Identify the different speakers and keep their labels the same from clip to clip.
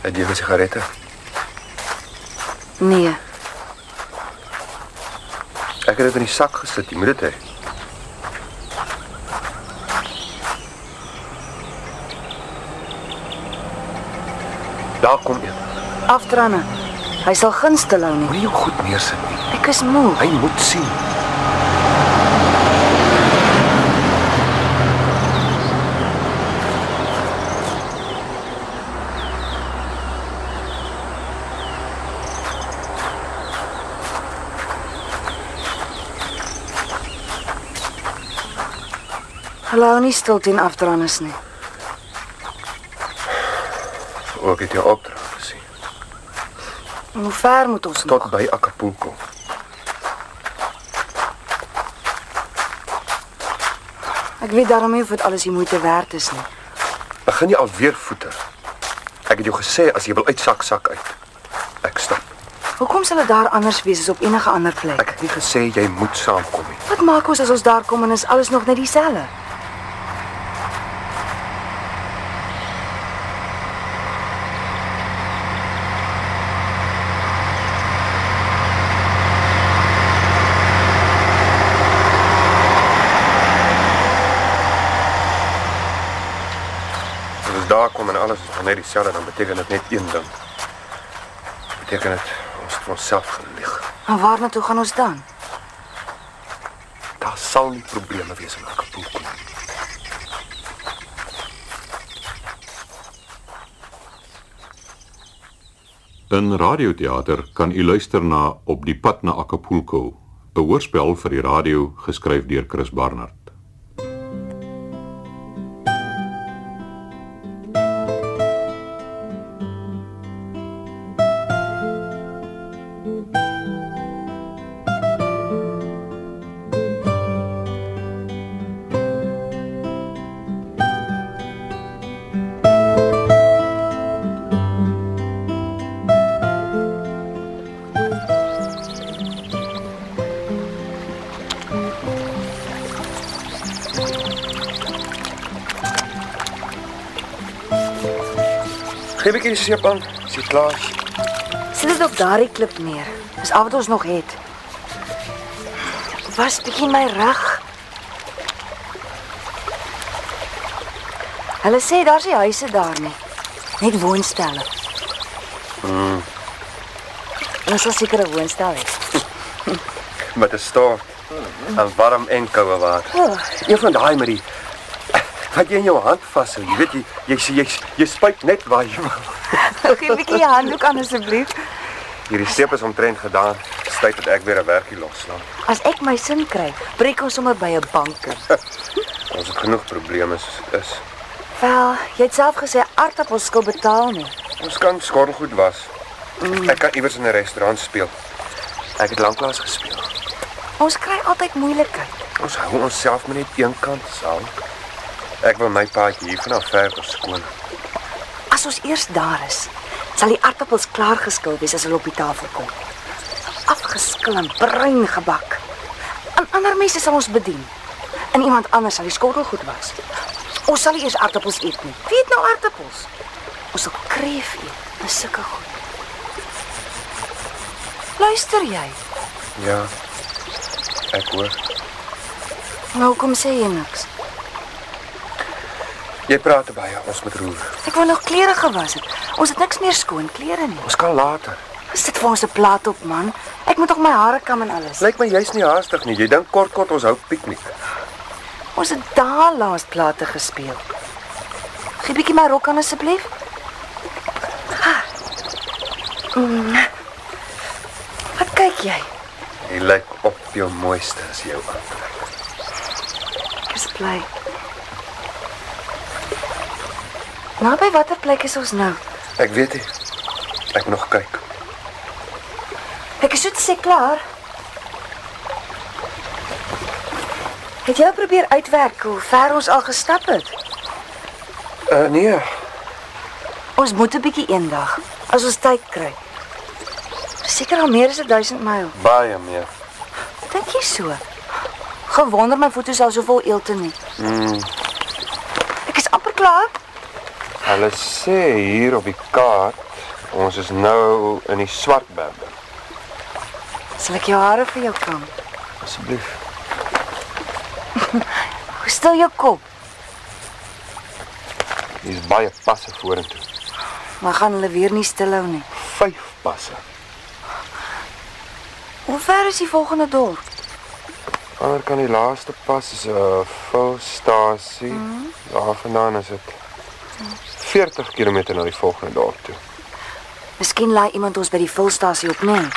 Speaker 1: Het diewe sigarette.
Speaker 2: Nee,
Speaker 1: Ek het dit in die sak gesit. Jy moet dit hê. Daar kom een.
Speaker 2: aftranne. Hy sal gunstel hou nie.
Speaker 1: Moenie jou goed neersit nie.
Speaker 2: Ek is moeg.
Speaker 1: Hy moet sien.
Speaker 2: Hulle hou nie stil teen aftrannes nie.
Speaker 1: Ook het jou opdrag gesien.
Speaker 2: En Hoe ver moet ons nog?
Speaker 1: Tot by Acapulco.
Speaker 2: Ek weet daarom nie of dit alles die moeite werd is nie.
Speaker 1: Begin jy alweer voeter. Ek het jou gesê as jy wil uitsak sak uit. Ek stap.
Speaker 2: Hoekom sal dit daar anders wees as op enige ander plek?
Speaker 1: Ek het nie gesê jy moet saamkom nie.
Speaker 2: Wat maak ons as ons daar kom en is alles nog net dieselfde?
Speaker 1: As ons daar kom en alles is nog net dieselfde, dan beteken dit net een ding. Beteken dit ons het vir onsself gelieg.
Speaker 2: En waarna toe gaan ons dan?
Speaker 1: Daar sal nie probleme wees in Acapulco nie.
Speaker 3: In radioteater kan u luister na Op die pad na Acapulco, 'n hoorspel vir die radio geskryf deur Chris Barnard.
Speaker 1: Gee 'n bietjie die seep aan. Is jy klaar?
Speaker 2: Sit dit op daardie klip neer. Dis al wat ons nog het. Was bietjie my rug. Hulle sê daar's nie huise daar nie. Net woonstelle. Mm. Ons sal seker 'n woonstel hê.
Speaker 1: Met 'n staaf en warm en koue water.
Speaker 2: Oh.
Speaker 1: Een van daai met die wat jy in jou hand vashou. Jy weet jy jy jy, jy, jy spuit net waar jy wil.
Speaker 2: Gee 'n bietjie jou handdoek aan asseblief.
Speaker 1: Hierdie seep is omtrent gedaan. Dis tyd dat ek weer 'n werkie nou. loslaan.
Speaker 2: As ek my sin kry, breek ons sommer by 'n banker.
Speaker 1: Ons het genoeg probleme soos het is.
Speaker 2: Wel, jy het self gesê aardappels skil betaal nie.
Speaker 1: Ons kan skorrelgoed was. Ek kan iewers in 'n restaurant speel. Mm. Ek het lanklaas gespeel.
Speaker 2: Ons kry altyd moeilikheid.
Speaker 1: Ons hou onsself maar net een kant saam. Ek wil my paadjie hier vanaf verder skoon.
Speaker 2: As ons eers daar is, sal die aardappels klaar geskil wees as hulle op die tafel kom. Afgeskil en bruin gebak. Aan ander mense sal ons bedien. En iemand anders sal die skottel goed was. Ons sal nie eers aardappels eet nie. Wie eet nou aardappels? Ons sal kreef eet. Dis sulke goed. Luister jy?
Speaker 1: Ja. Ek hoor.
Speaker 2: Nou kom sê jy niks.
Speaker 1: Jy praat te baie, ons moet roer.
Speaker 2: Ek wou nog klere gewas het. Ons het niks meer skoon klere nie.
Speaker 1: Ons kan later.
Speaker 2: Ons sit vir ons 'n plaat op, man. Ek moet nog my hare kam en alles.
Speaker 1: Lyk my jy's nie haastig nie. Jy dink kort kort ons hou piknik.
Speaker 2: Ons het daar laas plate gespeel. Gee bietjie my rok aan asseblief. Ah. Mm. Wat kyk jy?
Speaker 1: Jy lyk op jou mooiste as jou aantrek.
Speaker 2: Ek is bly. Naby watter plek is ons nou?
Speaker 1: Ek weet nie. Ek moet nog kyk.
Speaker 2: Ek is so te sê klaar. Het jy al probeer uitwerk hoe ver ons al gestap het?
Speaker 1: Uh nee,
Speaker 2: Ons moet 'n bietjie eendag as ons tyd kry. Seker al meer as 1000 myl.
Speaker 1: baie meer.
Speaker 2: Dink jy so? Gewonder my voete sal so vol eelte nie.
Speaker 1: Mm,
Speaker 2: Ek is amper klaar.
Speaker 1: hulle sê hier op die kaart Ons is nou in die Swartberge.
Speaker 2: Sal ek jou hare vir jou kam?
Speaker 1: Asseblief.
Speaker 2: Hoe stil jou kop?
Speaker 1: Hier's baie passe vorentoe.
Speaker 2: Maar gaan hulle weer nie stilhou nie.
Speaker 1: Vyf passe.
Speaker 2: Hoe ver is die volgende dorp?
Speaker 1: Ander kan die laaste pas is 'n vulstasie. Daar vandaan is dit 40 km na die volgende dorp toe.
Speaker 2: Miskien laai iemand ons by die vulstasie op, nee.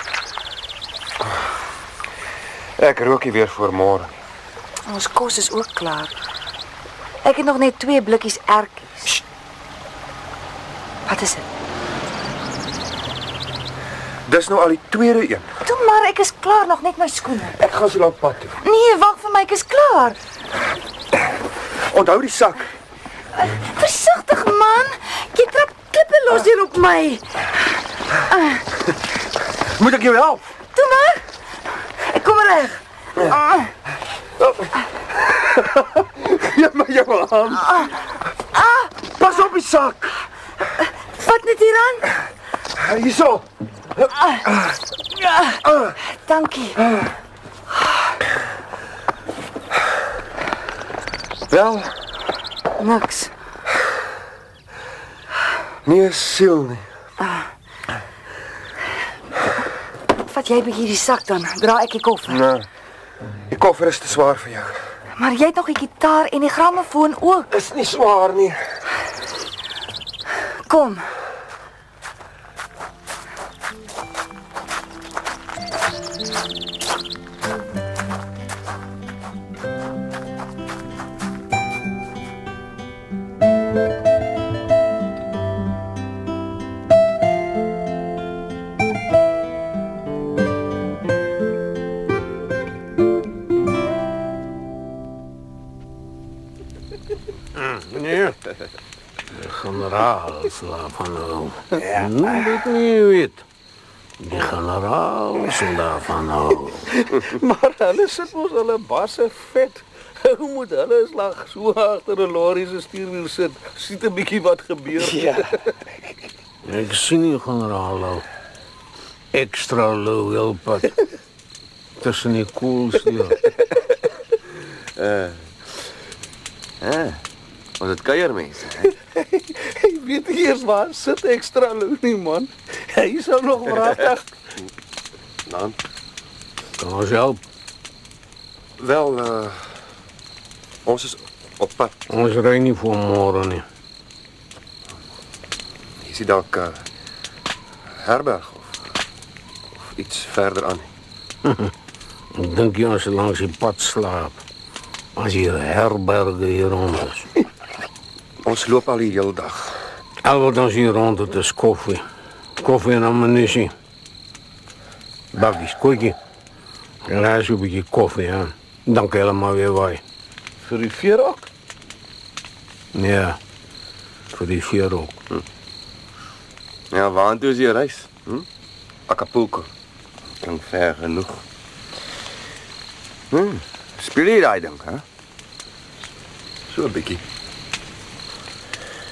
Speaker 1: Ek rook hier weer voor môre.
Speaker 2: Ons kos is ook klaar. Ek het nog net twee blikkies ertjies. Wat is dit?
Speaker 1: Dis nou al die tweede een.
Speaker 2: Toe maar, ek is klaar nog net my skoene.
Speaker 1: Ek gaan so lank pad toe.
Speaker 2: Nee, wag vir my, ek is klaar.
Speaker 1: Onthou die sak.
Speaker 2: Versigtig man, jy trap klippe los hier op my.
Speaker 1: Moet ek jou help?
Speaker 2: Toe maar. Ek kom reg. Ah,
Speaker 1: Gee my jou hand. Pas op die sak.
Speaker 2: vat net hier aan.
Speaker 1: Hierso.
Speaker 2: Ja, dankie.
Speaker 1: Wel,
Speaker 2: Niks.
Speaker 1: nie 'n siel nie.
Speaker 2: Vat jy bietjie die sak dan, dra ek die koffer.
Speaker 1: Nee. Die koffer is te swaar vir jou.
Speaker 2: Maar jy het nog die gitaar en die grammofoon ook.
Speaker 1: Is nie swaar nie.
Speaker 2: Kom.
Speaker 4: Nee. De generaal slaap van hou. Noem dit nie weet. Die generaal slaap van hou.
Speaker 5: Maar hulle sit mos hulle basse vet. Hoe moet hulle slag so agter 'n lorry se stuurwiel sit? Sien 'n bietjie wat gebeur.
Speaker 1: Ja.
Speaker 4: Ek sien die generaal al. Extra low helpad. Tussen die koels hier.
Speaker 6: Ons het kuiermense.
Speaker 5: Ek weet nie eers waar sit ekstra lou nie man. Hy sou nog wragtig.
Speaker 1: Dan
Speaker 4: Kan ons help?
Speaker 1: wel uh, ons is op pad.
Speaker 4: Ons ry nie voor môre nie.
Speaker 1: Is dit dalk uh, herberg of, of iets verder aan?
Speaker 4: Ek dink jy ons langs die pad slaap. As hier herberge hier rond is.
Speaker 1: Ons loop al die hele dag.
Speaker 4: Al wat ons hier rond het is koffie. Koffie en ammunisie. Bakkies, koekie. Raas een beetje koffie aan. Dan kan je helemaal weer waai.
Speaker 5: Vir die veer ook.
Speaker 4: Ja. Voor die vier ook.
Speaker 6: Ja, waartoe is jou reis?
Speaker 1: Hm? Acapulco.
Speaker 6: Klink ver genoeg. Hm. Speel jy daai ding, hè?
Speaker 1: So 'n bietjie.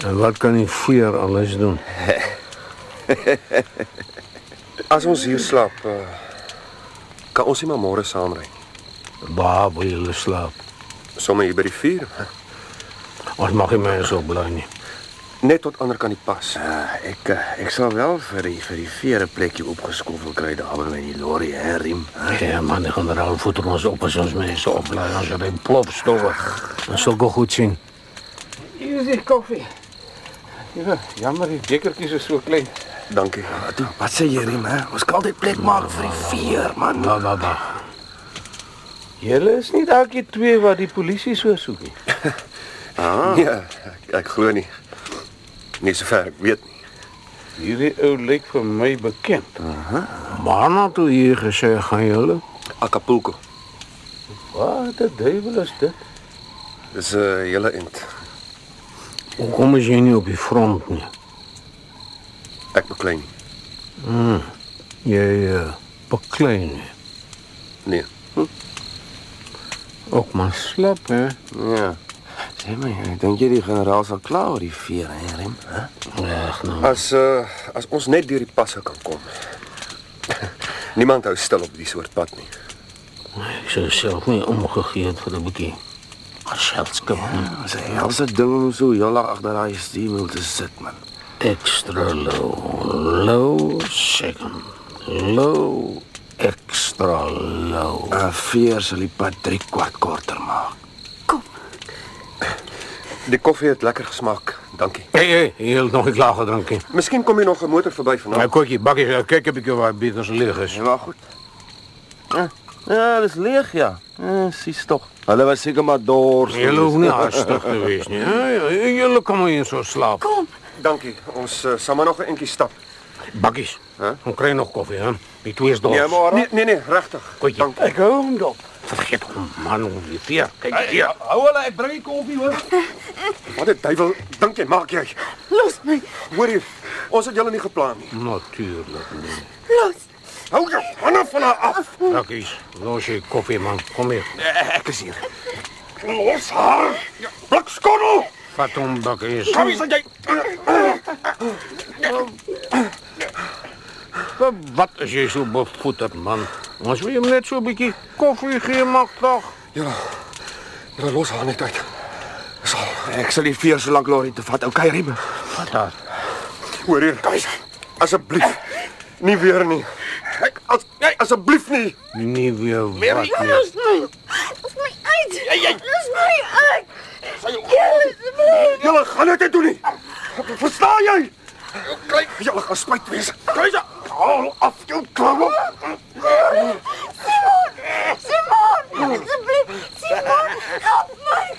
Speaker 4: En wat kan die vier alles doen?
Speaker 1: As ons hier slaap, uh, kan ons nie maar môre saamry.
Speaker 4: Waar wil jullie slapen?
Speaker 1: Sommige hier by die vuur,
Speaker 4: Ons mag je mij zo blij niet.
Speaker 1: net tot ander kan die pas.
Speaker 6: Ah, ek eh, ek sal wel vir die vir die vere plekkie opgeskoffel kry daar by my lorry hè, riem.
Speaker 4: Ja, maar de generaal voedt ons op als ons mensen opleiden. Als er een plopstoffen. Dat zal ook goed zien.
Speaker 5: Hier is die koffie. Ja, jammer die bekertjies is so klein.
Speaker 1: Dankie.
Speaker 6: Toe, Ah, wat sê jy riem, hè? Ons kan altyd plek maak vir die veer, man.
Speaker 4: Bah, bah, bah.
Speaker 5: Julle is nie dalk die twee wat die polisie so soek nie.
Speaker 1: Ah. Nee, ek, ek glo nie. Nie so ver, ek weet nie.
Speaker 5: Hierdie ou lyk vir my bekend.
Speaker 4: Waarna toe hier gezegd gaan jullie?
Speaker 1: Acapulco.
Speaker 6: Ah,
Speaker 5: Wat 'n duiwel is dit?
Speaker 1: Dis 'n uh, hele end.
Speaker 4: Hoe komen ze niet op je front niet?
Speaker 1: Ek beklei nie.
Speaker 4: Jij uh, beklein nie.
Speaker 1: Nee.
Speaker 4: Ook maar slap, hè?
Speaker 1: Ja.
Speaker 6: Sê my, dink jy die generaal sal klaar oor die vere, hè, Rem? Hè?
Speaker 4: Reg
Speaker 6: Ah.
Speaker 4: nou.
Speaker 1: As uh, as ons net deur die passe kan kom. Niemand hou stil op die soort pad nie.
Speaker 4: Ek sou self nie omgegee het vir 'n bietjie geselskap nie.
Speaker 6: Ons het helse ding om so heel lank agter daai stuurwiel te sit, man.
Speaker 4: Extra low, low second, low extra low.
Speaker 6: 'n Veer sal die pad 3 kwart korter maak.
Speaker 1: Die koffie het lekker gesmaak. Dankie.
Speaker 4: Hey, hey, je hebt nog niet klaar gedronken.
Speaker 1: Miskien kom jy nog 'n motor verby
Speaker 4: Maar
Speaker 1: vanaand.
Speaker 4: Nou, kokkie, bakkie, kijk heb ik waar beter zijn liggen is.
Speaker 6: Ja, maar goed. Ja, ja dis leeg ja. Ja, sies tog. Hulle was seker maar dors.
Speaker 4: Jullie hoeven niet hartstikke te wezen. Ja, ja, jullie komen in zo'n slaap.
Speaker 2: Kom,
Speaker 1: Dankie. Ons uh, sal maar nog 'n entjie stap.
Speaker 4: Bakkies,
Speaker 1: Huh?
Speaker 4: dan krijg je nog koffie, hè? Die twee is dol.
Speaker 1: Ja, maar nee nee, nee regtig.
Speaker 4: Kokkie.
Speaker 1: Dankie.
Speaker 5: Ek hou hom dop.
Speaker 4: Vergeet om man om die veer. Kijk, hier.
Speaker 5: Hou hulle, ek bring die koffie hoor.
Speaker 1: Wat 'n duiwel dink jy maak jy?
Speaker 2: los my.
Speaker 1: Hoor jy? Ons het julle nie geplan nie.
Speaker 4: Natuurlijk niet.
Speaker 2: Los.
Speaker 1: Hou jou hande van haar af.
Speaker 4: Bakkies, los je koffie, man. Kom hier.
Speaker 6: Eh,
Speaker 1: Ek is hier. Los haar.
Speaker 6: Ja.
Speaker 1: Blikskottel.
Speaker 4: Vat om, bakkies.
Speaker 1: Kom eens jy.
Speaker 4: Wat is je zo bevoeterd, man? Als we hem net zo'n beetje koffie geven, mag toch?
Speaker 1: Julle julle los haar net uit. Sal.
Speaker 6: Ek sal die veer so lank lorry te vat. Okay, Rem.
Speaker 4: Wat dat?
Speaker 1: Hoor hier. Kom eens. Asseblief. Nie weer nie. Ek as jy asseblief nie.
Speaker 4: Niet weer wat. nie.
Speaker 2: Los my. Los my uit. Los my uit. Los my.
Speaker 1: Julle gaan dit nie doen nie. Verstaan jy? Kyk, julle gaan spyt wees. Kruise. Haal af jou kloue.
Speaker 2: Simon, asseblief. Simon, help my.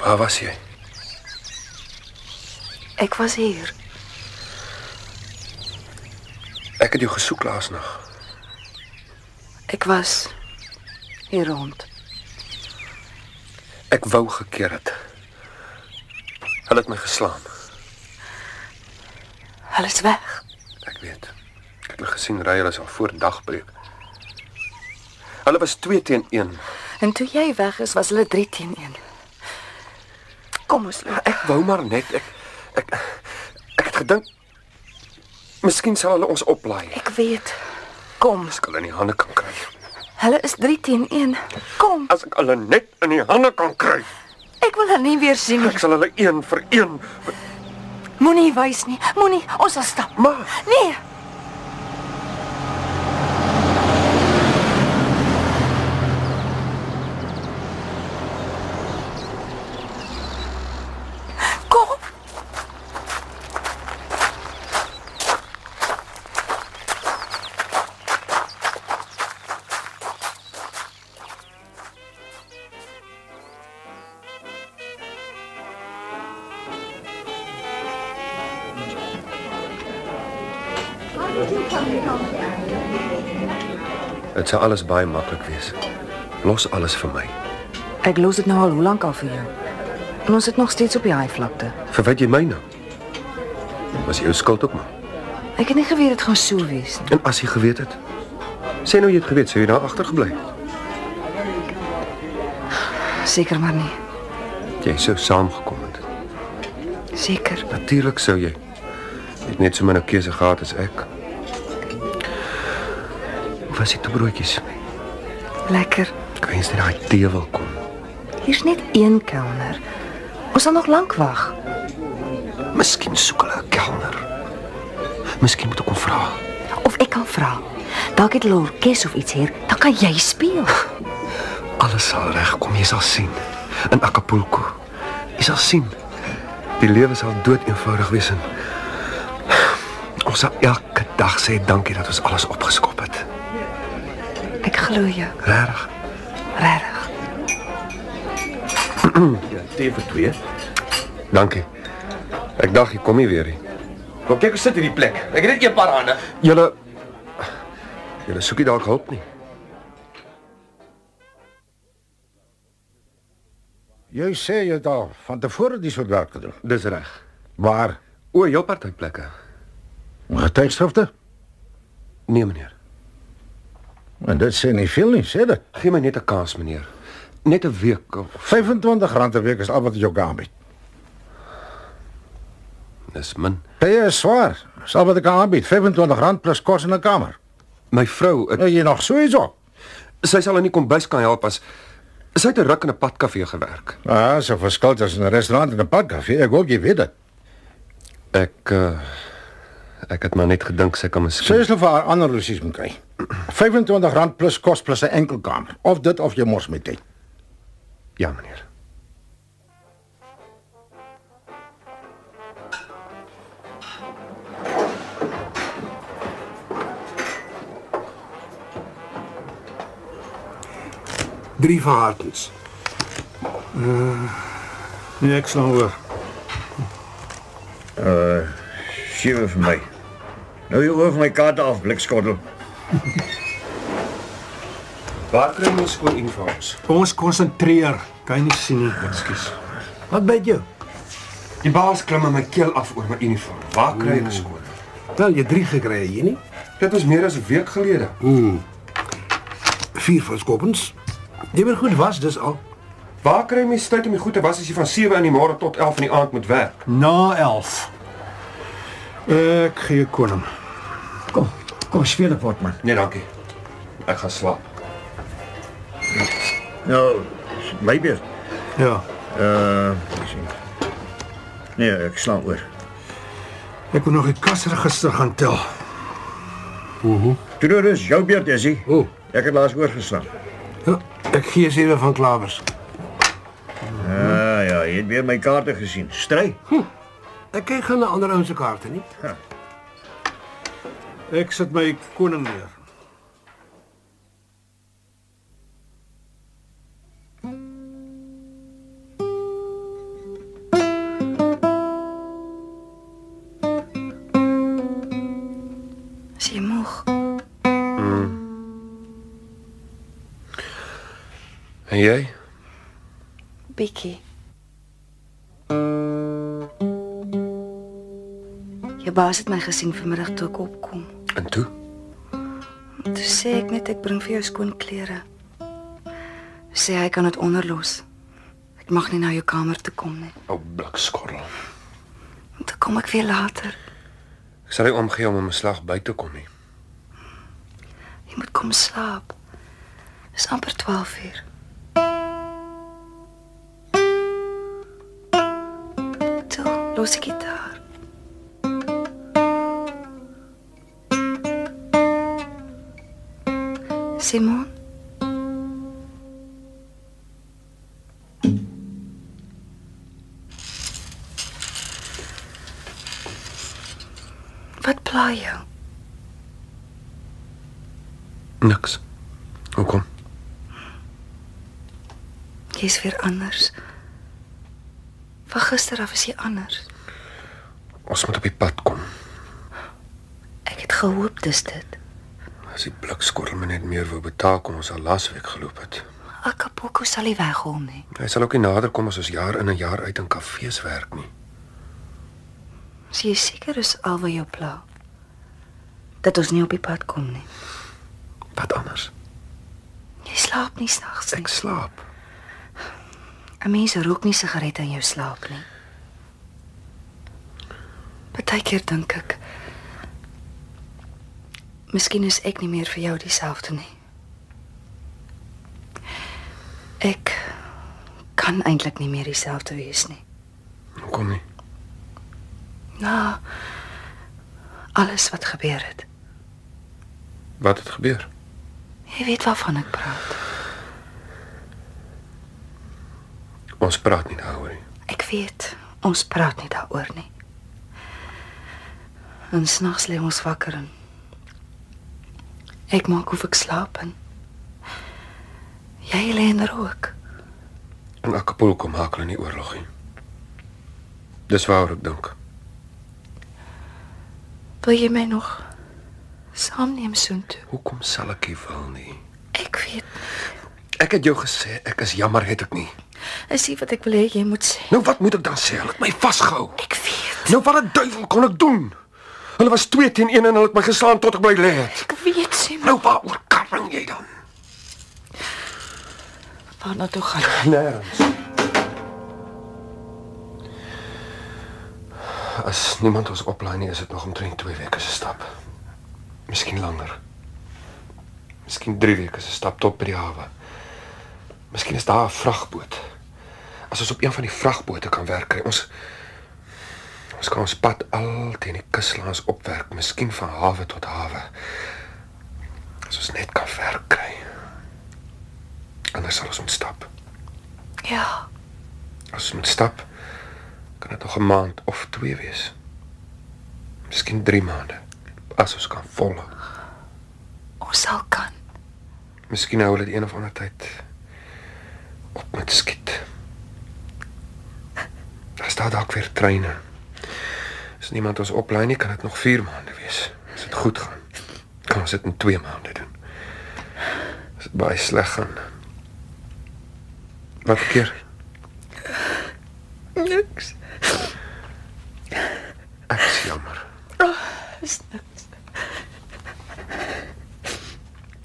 Speaker 1: Waar was jy?
Speaker 2: Ek was hier.
Speaker 1: Ek het jou gesoek laasnag.
Speaker 2: Ek was hier rond.
Speaker 1: Ek wou gekeer het. Hulle het my geslaan.
Speaker 2: Hulle is weg.
Speaker 1: Ek weet. Ek het hulle gesien ry hulle is al voor dagbreek. Hulle was 2 teen 1.
Speaker 2: En toe jy weg is, was hulle 3 teen 1. Kom ons loop.
Speaker 1: Ek wou maar net ek ek ek het gedink miskien sal hulle ons oplaai.
Speaker 2: Ek weet. Kom.
Speaker 1: As ek hulle in die hande kan kry.
Speaker 2: Hulle is 3 teen 1. Kom.
Speaker 1: As ek hulle net in die hande kan kry.
Speaker 2: Ek wil hulle nie weer sien
Speaker 1: Ek
Speaker 2: nie.
Speaker 1: sal hulle een vir een.
Speaker 2: Moenie wys nie. Moenie. Ons sal stap.
Speaker 1: Maar
Speaker 2: Nee. Kom.
Speaker 1: dit sal alles baie maklik wees. Los alles vir my.
Speaker 2: Ek los dit nou al hoe lank af vir jou. En ons sit nog steeds op die haai vlakte.
Speaker 1: Verwyd jy my nou? Was jou skuld ook maar.
Speaker 2: Ek het nie geweet dit gaan so wees nie.
Speaker 1: En as jy geweet het? Sê nou jy het geweet, sou jy daar nou agtergebly het?
Speaker 2: Seker maar nie.
Speaker 1: Jy sou saamgekom het.
Speaker 2: Seker.
Speaker 1: Natuurlik sou jy. Jy het net so min 'n keuse gehad as ek. Hoe Was dit te broodjies?
Speaker 2: Lekker.
Speaker 1: Ek wens net daai tee wil kom.
Speaker 2: Hier's net een kelner. Ons sal nog lank wag.
Speaker 1: Miskien soek hulle 'n kelner. Miskien moet ek hom vra.
Speaker 2: Of ek kan vra. Dalk het hulle 'n orkes of iets hier, dan kan jy speel.
Speaker 1: Alles sal regkom, jy sal sien. In Acapulco. Jy sal sien. Die lewe sal dood eenvoudig wees en ons sal elke dag sê dankie dat ons alles opgeskop het.
Speaker 2: Ek glo jou,
Speaker 1: Regtig?
Speaker 2: regtig.
Speaker 1: Ja, tee vir twee. Dankie. Ek dink jy kom nie weer nie. Kom kyk hoe sit hierdie plek. Ek het net 'n paar hande. Julle Julle soek nie dalk hulp nie.
Speaker 7: Jy sê jy het al van tevore die soort werk gedoen.
Speaker 1: Dis reg.
Speaker 7: Waar?
Speaker 1: O, jou party plekke.
Speaker 7: Maar tydskrifte?
Speaker 1: Nee, meneer.
Speaker 7: En dit sê nie veel nie, sê dit.
Speaker 1: Gee my net 'n kans, meneer. Net 'n week oh, of
Speaker 7: R25 'n week is al wat jy kan aanbied.
Speaker 1: dis min.
Speaker 7: Jy is swaar. Is al wat ek kan aanbied, R25 plus kos in 'n kamer.
Speaker 1: My vrou, ek,
Speaker 7: Nou jy nog so iets op.
Speaker 1: sy sal in die kombuis kan help as sy het 'n ruk in 'n padkafee gewerk.
Speaker 7: Ah, so verskil tussen 'n restaurant en 'n padkafee. Ek hoop jy weet dit.
Speaker 1: Ek uh, ek het maar net gedink sy kan
Speaker 7: Sy
Speaker 1: miskien
Speaker 7: is nog vir haar ander rusies moet kry. R25 plus kos plus 'n enkel kamer. Of dit of jy mors met dit.
Speaker 1: Ja, meneer.
Speaker 4: Drie verhartens. Uh, nee, ek slaan oor.
Speaker 8: Sewe vir my. Nou jy oor van my kaart af, blikskottel.
Speaker 1: Waar kry ons skoon uniforms?
Speaker 4: Kom ons konsentreer. Kan jy nie sien nie, ekskuus. Wat byt jou?
Speaker 1: Die baas klim in my keel af oor my uniform. Waar kry ek skoon?
Speaker 4: Hmm. Wel, jy drie gekry hier nie.
Speaker 1: Dit was meer as 'n week gelede.
Speaker 4: Vier van skoppens. Jy moet goed was dis al.
Speaker 1: Waar kry mens tyd om die goed te was as jy van 7 in die môre tot 11 in die aand moet werk?
Speaker 4: Na 11. Ek gee jou koning.
Speaker 8: Kom, kom speel 'n pot man.
Speaker 1: Nee, dankie. Ek gaan slaap.
Speaker 8: Nou, is my beurt.
Speaker 4: Ja.
Speaker 8: Uh, ek sien. Nee, ek slaan oor.
Speaker 4: Ek moet nog die kasregister gaan tel.
Speaker 8: Toe nou dis jou beurt, Jessie.
Speaker 4: O.
Speaker 8: Ek het laas oorgeslaan.
Speaker 4: Ja, ek gee sewe van klawers.
Speaker 8: Ah ja, jy het weer my kaarte gesien. Stry.
Speaker 4: Ek kyk gaan na ander ouens se kaarte nie.
Speaker 8: Ja.
Speaker 4: Ek sit my koning neer.
Speaker 2: As jy moeg.
Speaker 1: En jy?
Speaker 2: Bietjie. Jou baas het my gesien vanmiddag toe ek opkom.
Speaker 1: En toe?
Speaker 2: Toe sê ek net ek bring vir jou skoon klere. Sê hy kan dit onderlos. Ek mag nie na jou kamer toe kom nie.
Speaker 1: Ou blikskorrel.
Speaker 2: Toe kom ek weer later.
Speaker 1: Ek sal nie omgee om 'n slag by te kom nie.
Speaker 2: Jy moet kom slaap. Dis amper 12 uur. Toe, los die gitaar. Simon, wat pla jou?
Speaker 1: Niks. Hoekom?
Speaker 2: Jy's weer anders. Van gister af is jy anders.
Speaker 1: Ons moet op die pad kom.
Speaker 2: Ek het gehoop dis dit.
Speaker 1: As die blikskorrel my net meer wou betaak om ons al laasweek geloop het.
Speaker 2: Acapulco sal nie weghol nie.
Speaker 1: Hy sal ook nie nader kom as ons jaar in en jaar uit in kafees werk nie.
Speaker 2: As jy seker is al wat jou pla. Dat ons nie op die pad kom nie.
Speaker 1: Wat anders?
Speaker 2: Jy slaap nie snags nie.
Speaker 1: Ek slaap.
Speaker 2: 'n Mens rook nie sigarette in jou slaap nie. Partykeer dink ek Miskien is ek nie meer vir jou dieselfde nie. Ek kan eintlik nie meer dieselfde wees nie.
Speaker 1: Hoekom nie?
Speaker 2: Na alles wat gebeur het.
Speaker 1: Wat het gebeur?
Speaker 2: Jy weet waarvan ek praat.
Speaker 1: Ons praat nie daaroor nie.
Speaker 2: Ek weet, ons praat nie daaroor nie. En snags lê ons wakker en ek maak of ek slaap en jy lê in rook.
Speaker 1: In Acapulco maak hulle nie oorlog nie. Dis waaroor ek dink.
Speaker 2: Wil jy my nog saamneem soontoe?
Speaker 6: Hoekom sal ek nie wil nie?
Speaker 2: Ek weet,
Speaker 6: Ek het jou gesê ek is jammer het ek nie.
Speaker 2: is nie wat ek wil hê jy moet sê.
Speaker 6: Nou wat moet ek dan sê? Hulle het my vasgehou.
Speaker 2: Ek weet,
Speaker 6: Nou wat 'n duiwel kon ek doen? Hulle was 2 teen 1 en hulle het my geslaan tot ek bly lê het.
Speaker 2: ek weet sê maar
Speaker 6: Nou waaroor karring jy dan?
Speaker 2: waarna toe gaan.
Speaker 6: Nêrens. As niemand ons oplaai nie, is dit nog omtrent 2 weke se stap. Miskien langer.
Speaker 1: Miskien 3 weke se stap tot by die hawe. Miskien is daar 'n vragboot. As ons op een van die vragbote kan werk kry, ons ons kan ons pad al teen die kus langs opwerk, miskien van hawe tot hawe. As ons net kan werk kry. Anders sal ons ontstap.
Speaker 2: Ja,
Speaker 1: As ons moet stap, kan dit nog 'n maand of 2 wees. Miskien 3 maande. As ons kan volhou.
Speaker 2: ons sal kan.
Speaker 1: Miskien hou hulle die een of ander tyd op met skiet. Daar staan dalk weer treine. As niemand ons oplei nie, kan dit nog 4 maande wees. As dit goed gaan, kan ons dit in 2 maande doen. As dit baie sleg gaan. Wat keer?
Speaker 2: Niks.
Speaker 1: Ek is jammer.
Speaker 2: Is niks.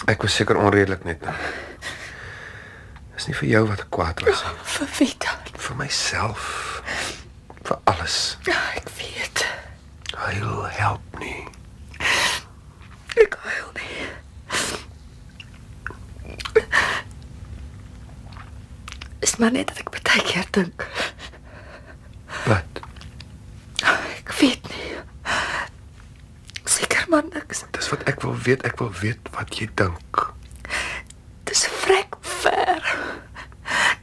Speaker 1: Ek was seker onredelik net nou. Dis nie vir jou wat ek kwaad was nie,
Speaker 2: Vir wie dan?
Speaker 1: vir myself, vir alles.
Speaker 2: Ja, ek weet.
Speaker 1: Huil help nie.
Speaker 2: Ek huil nie. Is maar net dat ek baie keer dink.
Speaker 1: Wat?
Speaker 2: Ek weet nie. Seker maar niks.
Speaker 1: Dis wat ek wil weet. Ek wil weet wat jy dink.
Speaker 2: Dis vrek ver.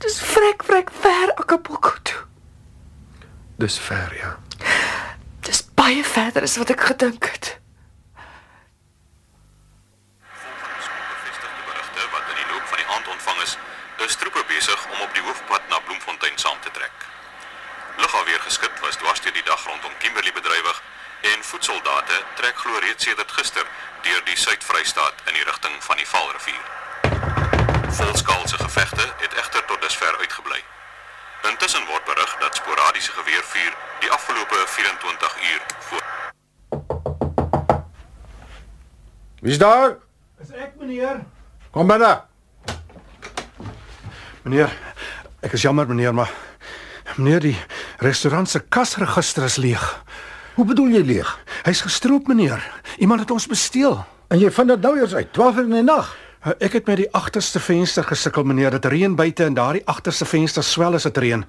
Speaker 2: Dis vrek vrek ver Acapulco toe.
Speaker 1: Dis ver, ja.
Speaker 2: Dis baie verder as wat ek gedink het.
Speaker 3: bevestigde berigte wat in die loop van die aand ontvang is, is troepe besig om op die hoofpad na Bloemfontein saam te trek. Lugafweer geskip was dwars deur die dag rondom Kimberley bedrywig en voetsoldate trek glo reeds sedert gister deur die Suid-Vrystaat in die rigting van die Vaalrivier. Volskaalse gevegte het egter tot dusver uitgebly. Intussen word berig dat sporadiese geweervuur die afgelope 24 uur voor
Speaker 7: Wie's daar?
Speaker 9: Is ek meneer?
Speaker 7: Kom binne.
Speaker 9: Meneer, ek is jammer meneer, maar meneer die restaurant se kasregister is leeg.
Speaker 7: Hoe bedoel jy leeg?
Speaker 9: Hy's gestroop meneer. Iemand het ons besteel. Eh,
Speaker 7: En jy vind dit nou eers uit 12 uur in die nag.
Speaker 9: Ek het met die agterste venster gesukkel meneer. Dit reën buite en daardie agterste venster swel as dit reën.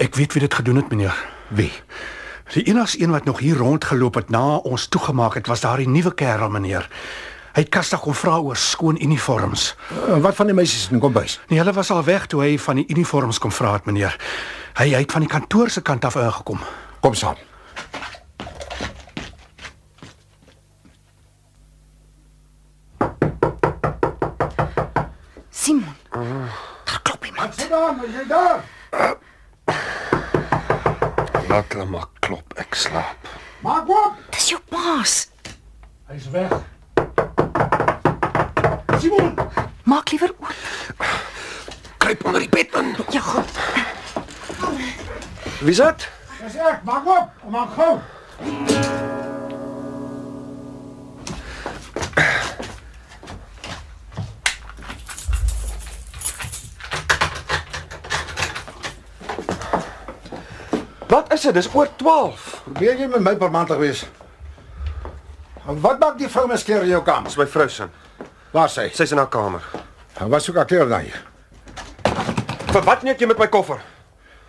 Speaker 9: Ek weet wie dit gedoen het meneer.
Speaker 7: Wie?
Speaker 9: Die enigste een wat nog hier rondgeloop het na ons toegemaak het was daardie nuwe kerel meneer. Hy het kastig kom vra oor skoon uniforms.
Speaker 7: En wat van die meisies in die kombuis?
Speaker 9: Nee, hulle was al weg toe hy van die uniforms kom vra het meneer. Hy hy het van die kantoor se kant af ingekom.
Speaker 7: Kom saam.
Speaker 2: Simon. Daar klop iemand.
Speaker 7: Daar, is jy daar?
Speaker 1: Laat hulle maar klop. Ek slaap.
Speaker 7: Maak op.
Speaker 2: Dis jou paas.
Speaker 9: Hy's weg. Simon,
Speaker 2: Maak liewer oop.
Speaker 6: Kruip onder die bed in.
Speaker 2: Ja, goed.
Speaker 6: Wie's dit?
Speaker 7: Dis ek. Maak op. Maak gou.
Speaker 6: Wat is dit? Dis oor 12.
Speaker 7: Probeer jy met my permantig wees? En wat maak die vrou miskeer in jou kamer?
Speaker 1: Dis my vrou se.
Speaker 7: Waar sy?
Speaker 1: Sy's in haar kamer.
Speaker 7: Hy was ook akkeer dan hier.
Speaker 1: Vir wat neek jy met my koffer?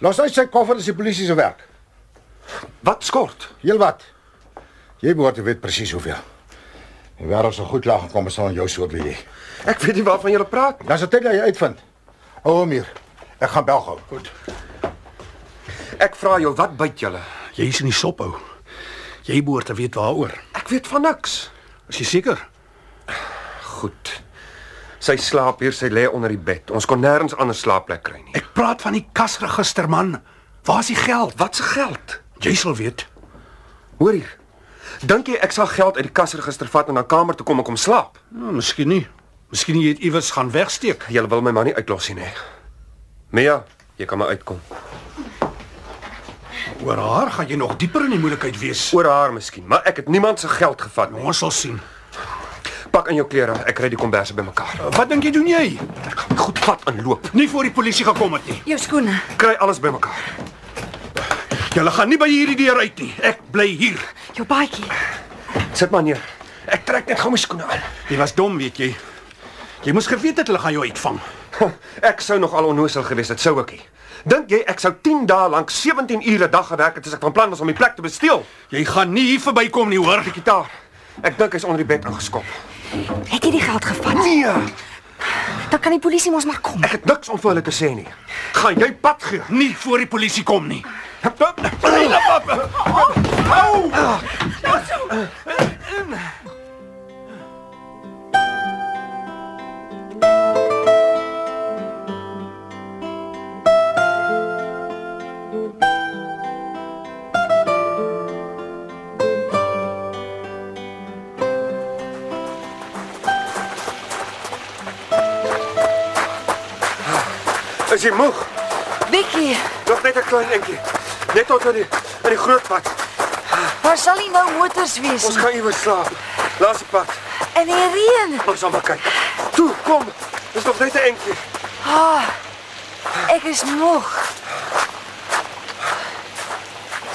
Speaker 7: Los uit sy koffer is die polisie se werk.
Speaker 1: Wat skort?
Speaker 7: Heel wat. Jy behoort te weet presies hoeveel. Die wêreld sou goed lag gekom as hulle aan jou soort wil hê.
Speaker 1: Ek weet nie waarvan jy praat nie.
Speaker 7: Dis 'n tyd dat jy uitvind. Hou hom hier. Ek gaan bel gou. Goed.
Speaker 1: Ek vra jou, wat byt julle?
Speaker 9: Jy is in die sop ou. Jy behoort te weet waaroor.
Speaker 1: Ek weet van niks.
Speaker 9: Is jy seker?
Speaker 1: Goed. Sy slaap hier, sy lê onder die bed. Ons kon nêrens anders slaapplek kry nie.
Speaker 9: Ek praat van die kasregister man. Waar is die geld?
Speaker 1: Wat se geld?
Speaker 9: Jy sal weet.
Speaker 1: Hoor hier. Dink jy ek sal geld uit die kasregister vat en na kamer toe kom en kom slaap?
Speaker 9: Nou, miskien nie. Miskien jy het iewers gaan wegsteek.
Speaker 1: Jy wil my man nie uitlos nie. nee. Mia, jy kan maar uitkom.
Speaker 9: Oor haar gaan jy nog dieper in die moeilikheid wees.
Speaker 1: Oor haar miskien, maar ek het niemand se geld gevat nie.
Speaker 9: Ons sal sien.
Speaker 1: Pak in jou klere, ek ry die komberse bymekaar.
Speaker 9: Wat dink jy doen jy?
Speaker 1: Ek gaan my goed pad inloop.
Speaker 9: Nie voor die polisie gekom het nie.
Speaker 2: Jou skoene.
Speaker 1: Kry alles bymekaar.
Speaker 9: Julle gaan nie by hierdie deur uit nie. Ek bly hier.
Speaker 2: Jou baadjie.
Speaker 1: Sit maar neer. Ek trek net gou my skoene aan.
Speaker 9: Jy was dom, weet jy. Jy moes geweet het hulle gaan jou uitvang.
Speaker 1: Ek sou nog al onnoosel gewees het, sou ek nie. Dink jy ek sou 10 dae lank 17 ure 'n dag gewerk het as ek van plan was om die plek te besteel?
Speaker 9: Jy gaan nie hier verbykom nie, hoor.
Speaker 1: Die gitaar. Ek dink hy's onder die bed ingeskop.
Speaker 2: Het jy die geld gevat?
Speaker 1: Nee,
Speaker 2: Dan kan die polisie mos maar kom.
Speaker 1: ek het niks om vir hulle te sê nie. Gaan jy pad gee?
Speaker 9: Nie voor die polisie kom nie.
Speaker 1: Is jy moeg?
Speaker 2: Bikkie,
Speaker 1: Nog net 'n klein entjie. Net tot aan die aan die groot pad.
Speaker 2: waar sal nie nou motors wees
Speaker 1: Ons gaan iewers slaap. Laaste pad.
Speaker 2: In die reën.
Speaker 1: Ons gaan maar kyk. Toe, kom. Dis nog net 'n entjie.
Speaker 2: Ah, ek is moeg.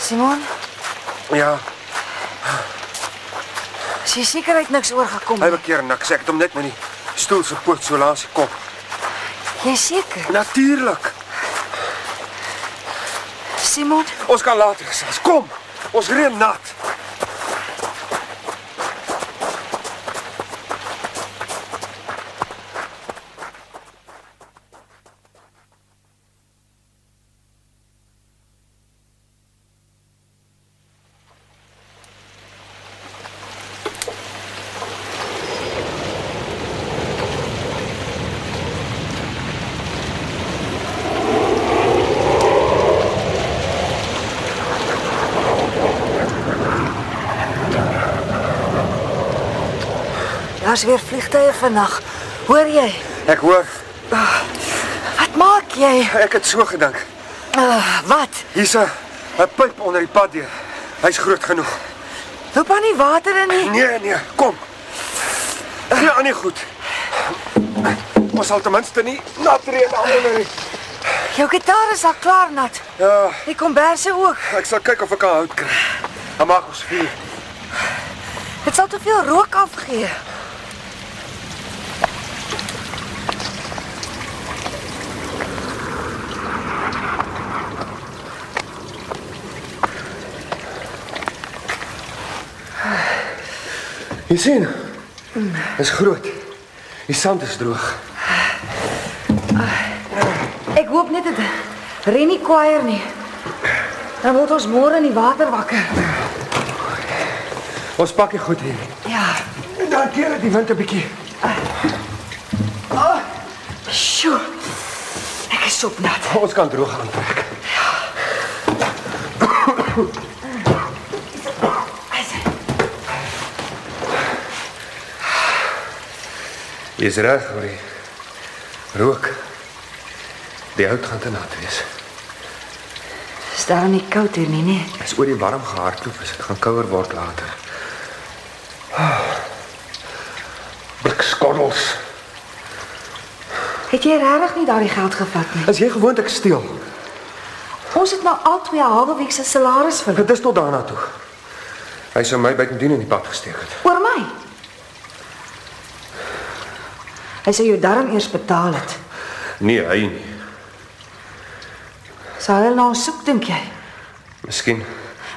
Speaker 2: Simon,
Speaker 1: Ja,
Speaker 2: as jy seker uit niks oorgekom
Speaker 1: hy
Speaker 2: het.
Speaker 1: bekeer niks. Ek het hom net met die stoel se poot so langs die kop.
Speaker 2: Jy is seker?
Speaker 1: Natuurlik.
Speaker 2: Simon,
Speaker 1: Ons kan later gesels. Kom. Ons reën nat.
Speaker 2: daar's weer vliegtye vannag. Hoor jy?
Speaker 1: Ek hoor.
Speaker 2: Wat maak jy?
Speaker 1: Ek het so gedink.
Speaker 2: Uh, wat?
Speaker 1: Hier's 'n 'n pyp onder die pad deur. Hy's groot genoeg.
Speaker 2: Loop aan die water in nie.
Speaker 1: Nee, nee, kom. Gee aan die goed. Ons sal ten minste nie nat reën almal nie.
Speaker 2: Jou gitaar is al klaar nat.
Speaker 1: Ja,
Speaker 2: Die komberse ook.
Speaker 1: ek sal kyk of ek kan hout kry. Dan maak ons vuur.
Speaker 2: Dit sal te veel rook afgee.
Speaker 1: Jy sien? Is groot. Die sand is droog.
Speaker 2: Ek hoop net dit ren nie kwaier nie. Dan word ons môre in die water wakker.
Speaker 1: Ons pak dit goed hier.
Speaker 2: Ja.
Speaker 1: En dan keer dit die wind 'n bietjie.
Speaker 2: Sjoe. Ek is opnat.
Speaker 1: Ons kan droog aantrek. Jy's reg, Rory. Rook. Die hout gaan te nat wees.
Speaker 2: Is daar nie koud hier nie, nee?
Speaker 1: As oor die warm gehardloop is, dit gaan kouer word later. Ah. Blikskorrels.
Speaker 2: Het jy regtig nie daardie geld gevat nie?
Speaker 1: As jy gewoond ek steel.
Speaker 2: Ons het nou al twee halwe week se salaris verloor.
Speaker 1: Dit is tot daarna toe. Hy sou my buitendien in die pad gesteek het.
Speaker 2: Oor my. Hy sê jou darm eers betaal het.
Speaker 1: Nee, hy nie.
Speaker 2: Sal hulle nou soek dink jy?
Speaker 1: Miskien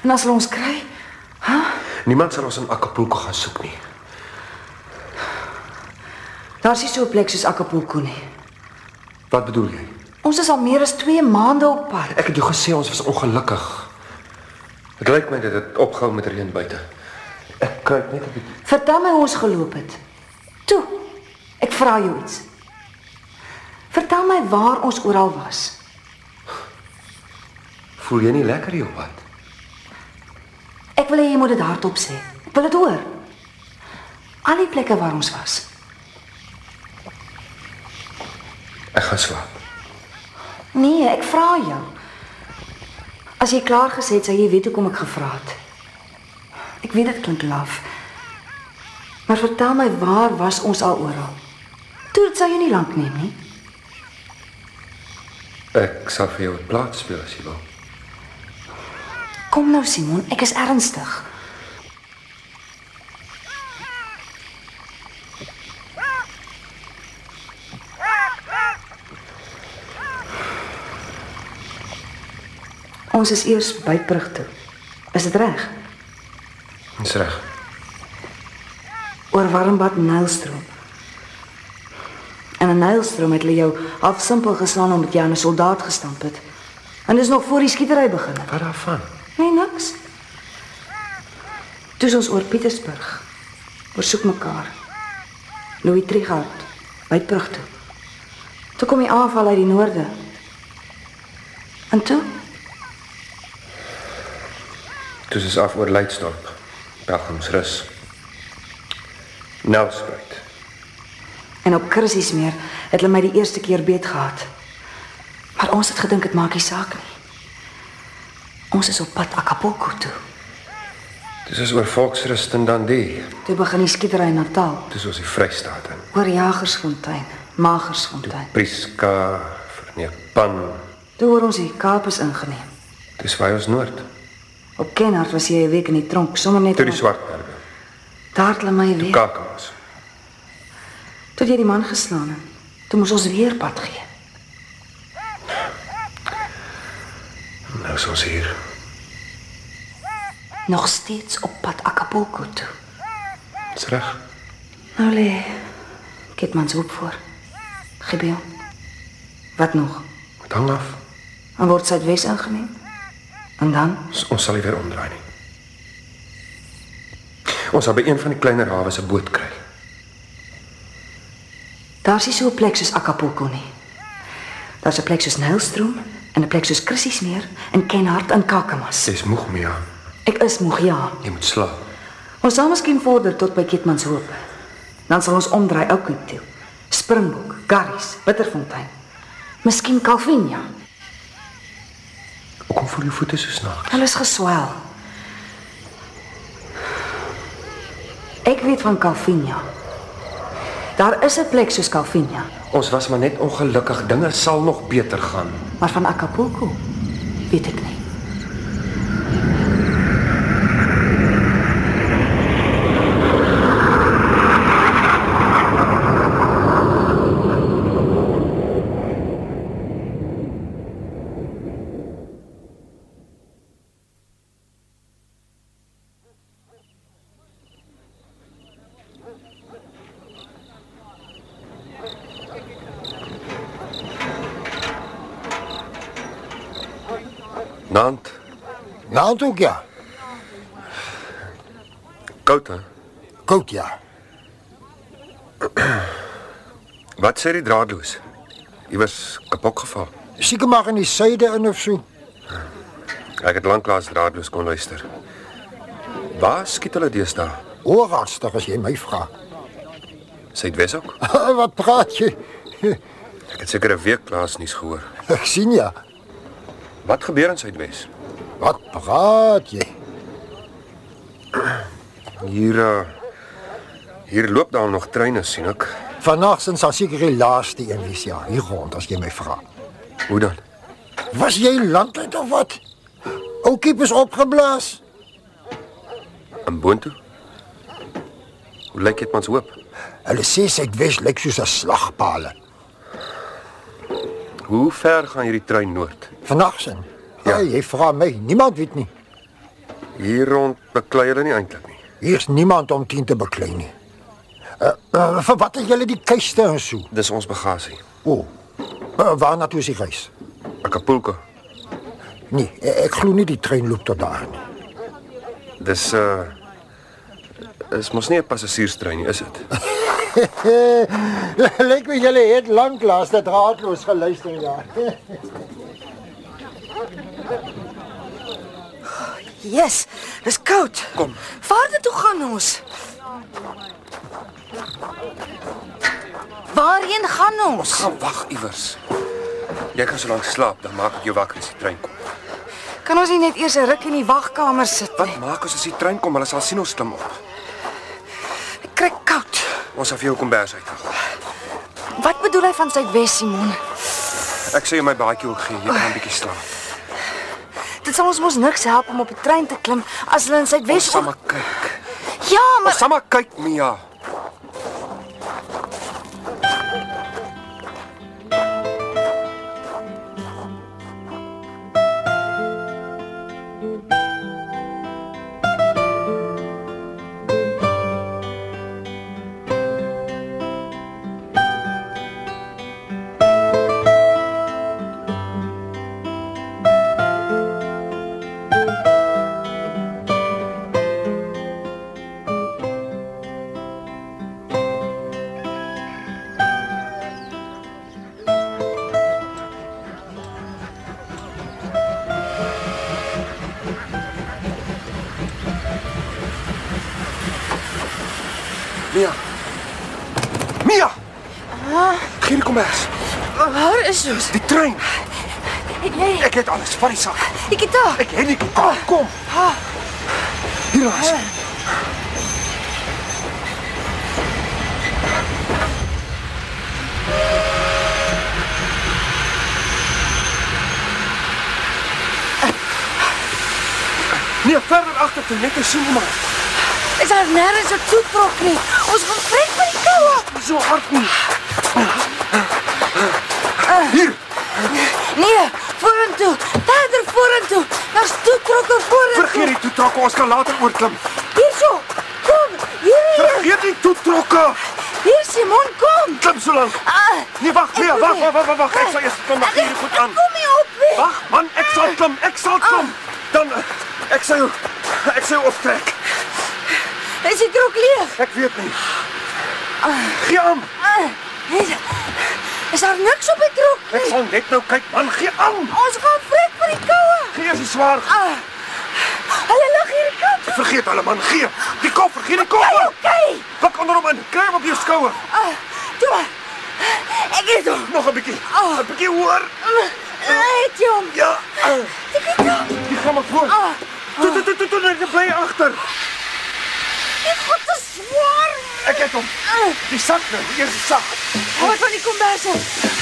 Speaker 2: En as hulle ons kry,
Speaker 1: niemand sal ons in Acapulco gaan soek nie.
Speaker 2: Daar's nie so 'n plek soos Acapulco nie.
Speaker 1: Wat bedoel jy?
Speaker 2: Ons is al meer as 2 maande op pad.
Speaker 1: Ek het jou gesê ons was ongelukkig. Dit lyk my dit het opgehou met reën buite. Ek kruip net 'n bietjie.
Speaker 2: Vertel my hoe ons geloop het. Toe. Ek vra jou iets. Vertel my waar ons oral was.
Speaker 1: Voel jy nie lekker hier of wat?
Speaker 2: Ek wil hê jy moet dit hardop sê. Ek wil dit hoor. Al die plekke waar ons was.
Speaker 1: Ek gaan slaap.
Speaker 2: Nee, ek vra jou. As jy klaar gesê het, sou jy weet hoekom ek gevra het. Ek weet dit klink laf. Maar vertel my waar was ons al oral? Toe dit sou jy nie lank neem nie.
Speaker 1: Ek sal vir jou 'n plaat speel as jy wil.
Speaker 2: Kom nou Simon, ek is ernstig. Ons is eers by Prug toe. Is dit reg?
Speaker 1: Dis reg.
Speaker 2: Oor Warmbad Nylstroom. En in Nylstroom het hulle jou half simpel geslaan omdat jy aan 'n soldaat gestamp het. En dis nog voor die skietery begin het.
Speaker 1: Wat daarvan?
Speaker 2: Nee, niks. Toe is ons oor Pietersburg. Ons soek mekaar. Louis Trigard, by Prug toe. Toe kom die aanval uit die noorde. En toe,
Speaker 1: Toe is af oor Leidsdorp. Pelgrimsrus. Nelspruit.
Speaker 2: en op Christiesmeer, het hulle my die eerste keer beet gehad. Maar ons het gedink dit maak nie saak nie. Ons is op pad Acapulco toe.
Speaker 1: Dis is oor Volksrus en dan die.
Speaker 2: Toe begin die skietery in Natal,
Speaker 1: Dis ons die Vrystaat in.
Speaker 2: oor Jagersfontein, Magersfontein.
Speaker 1: Priska, Verneepan.
Speaker 2: Toe word ons die Kaap is ingeneem.
Speaker 1: Dis waar ons noord.
Speaker 2: Op Kenhardt was jy 'n week in die tronk, sommer net
Speaker 1: Toe die
Speaker 2: om-
Speaker 1: Swartberge.
Speaker 2: Daar het hulle my weer.
Speaker 1: Kakels.
Speaker 2: Toe jy die man geslaan het, toe moes ons weer pad gee.
Speaker 1: Nou is ons hier.
Speaker 2: Nog steeds op pad Acapulco toe.
Speaker 1: Dis reg.
Speaker 2: Nou lê kyk mans hoop voor. Gebeel. Wat nog?
Speaker 1: Dit hang af.
Speaker 2: Dan word Suidwes ingeneem. En dan
Speaker 1: Ons, ons sal nie weer omdraai nie. Ons sal by een van die kleiner hawens 'n boot kry.
Speaker 2: daar's nie so 'n plek soos Acapulco nie. Daar's 'n plek soos Nylstroom en 'n plek soos Christiesmeer en Kenhardt en Kakamas.
Speaker 1: Dis moeg mee aan.
Speaker 2: Ek is moeg ja.
Speaker 1: Jy moet slaap.
Speaker 2: Ons sal miskien vorder tot by Ketmans Hoop. Dan sal ons omdraai Oukoop toe. Springbok, Garries, Bitterfontein. Miskien Calvinia.
Speaker 1: Hoekom voel jou voete so snaaks?
Speaker 2: Hulle is geswel. Ek weet van Calvinia. Daar is 'n plek soos Calvinia,
Speaker 1: Ons was maar net ongelukkig. Dinge sal nog beter gaan.
Speaker 2: maar van Acapulco weet ek nie.
Speaker 1: Nant,
Speaker 7: Nou toe ja.
Speaker 1: koud hè?
Speaker 7: Koud ja.
Speaker 1: Wat sê die draadloos? Jy was kapot geval.
Speaker 7: Seker maar in die suide in of so.
Speaker 1: Ek het lanklaas draadloos kon luister. Waar skiet hulle deesdae?
Speaker 7: Oorwaartstig as jy my vra.
Speaker 1: Suidwes ook?
Speaker 7: Wat praat jy?
Speaker 1: Ek het seker 'n week laas nuus gehoor.
Speaker 7: Ek sien ja.
Speaker 1: Wat gebeur in Suidwes?
Speaker 7: Wat praat jy?
Speaker 1: Hier uh, hier loop daar nog treine sien ek.
Speaker 7: Vanaand sins sal seker die laaste een wees ja, hier rond as jy my vra.
Speaker 1: Hoe dan?
Speaker 7: Was jy landlyd of wat? Ou kiep is opgeblaas.
Speaker 1: In boontoe? Hoe lyk dit mans hoop?
Speaker 7: Hulle sê Suidwes lyk soos 'n slagpale.
Speaker 1: Hoe ver gaan hierdie trein noord?
Speaker 7: Vanaand sin. Ja, hey, jy vra my, niemand weet nie.
Speaker 1: Hier rond beklei hulle nie eintlik nie.
Speaker 7: Hier's niemand om teen te beklei nie. Uh, uh, vir wat het julle die kiste en so?
Speaker 1: Dis ons bagasie.
Speaker 7: O. Oh. Uh, waarna toe is die reis?
Speaker 1: Acapulco.
Speaker 7: Nee, ek glo nie die trein loop tot daar nie.
Speaker 1: Dis uh is mos nie 'n passasierstrein nie, is dit?
Speaker 7: Lyk my julle het lank laas dit raadloos geluister ja.
Speaker 2: Jesus, dis koud. Kom. Vaarder toe gaan ons. Waarheen gaan ons?
Speaker 1: Gaan wag iewers. Ah, Jy kan so lank slaap, dan maak ek jou wakker as die trein kom.
Speaker 2: Kan ons nie net eers 'n ruk in die wagkamer sit
Speaker 1: Wat maak ons as die trein kom? Hulle sal sien ons klim op.
Speaker 2: Ek kry koud.
Speaker 1: Ons sal vir jou kombers uithaal.
Speaker 2: Wat bedoel hy van Suidwes, Simon?
Speaker 1: Ek sê my baadjie ook gee, jy kan 'n bietjie slaap.
Speaker 2: Dit sal ons mos niks help om op 'n trein te klim as hulle in
Speaker 1: Ons
Speaker 2: Suidwes
Speaker 1: sal maar kyk.
Speaker 2: Ja,
Speaker 1: Ons
Speaker 2: maar
Speaker 1: sal maar kyk, Mia. Mia. Ah. Mia. Gee die kombers.
Speaker 2: waar is ons?
Speaker 1: Die trein.
Speaker 2: Jy
Speaker 1: Ek het alles van die sak.
Speaker 2: die gitaar.
Speaker 1: Ek het nie kom. Ah, Kom. Hier is. Nee, verder agter toe, net te sien maar.
Speaker 2: Is daar nêrens 'n toetrok nie? Ons gaan vrek by die koue.
Speaker 1: So hard nie.
Speaker 2: Nee, vorentoe. Verder vorentoe. Daar's toetrokke
Speaker 1: Vergeet
Speaker 2: vorentoe.
Speaker 1: die toetrokke, ons kan later oorklim.
Speaker 2: Hierso. Kom. Hier.
Speaker 1: Vergeet die toetrokke.
Speaker 2: Hier Simon, kom.
Speaker 1: Klim so lank.
Speaker 2: Ah,
Speaker 1: Nee, wag, nee, wag, wag, wag, wag, wag. Ek sal eers kom maar hier goed aan.
Speaker 2: Kom hier op. Weer.
Speaker 1: Wag man, ek sal klim, ek sal klim. Dan eh, ek sal jou ek sal jou optrek.
Speaker 2: Is die trok leeg?
Speaker 1: Ek weet nie. Gee aan.
Speaker 2: Ah, is, is daar niks op die trok
Speaker 1: Ek
Speaker 2: nie?
Speaker 1: sal net nou kyk man, gee aan.
Speaker 2: Ons gaan vrek by die koue.
Speaker 1: Gee as die swaar.
Speaker 2: Ah. Hulle lig hier koud.
Speaker 1: Vergeet hulle man, gee. Die koffer, gee die koffer.
Speaker 2: Okay.
Speaker 1: Pak onder hom in. Kry hom op jou skouer.
Speaker 2: Ah, toe. Ek Ah. het hom.
Speaker 1: Nog 'n bietjie. 'n Bietjie hoor.
Speaker 2: Ek het hom.
Speaker 1: Ja. Die gaan maar voor.
Speaker 2: Ah.
Speaker 1: Toe toe toe toe, toe, net bly agter.
Speaker 2: Dit goed te swaar. Ah.
Speaker 1: Ek het hom. Die sak nou, die eerste sak.
Speaker 2: Wat van die komberse?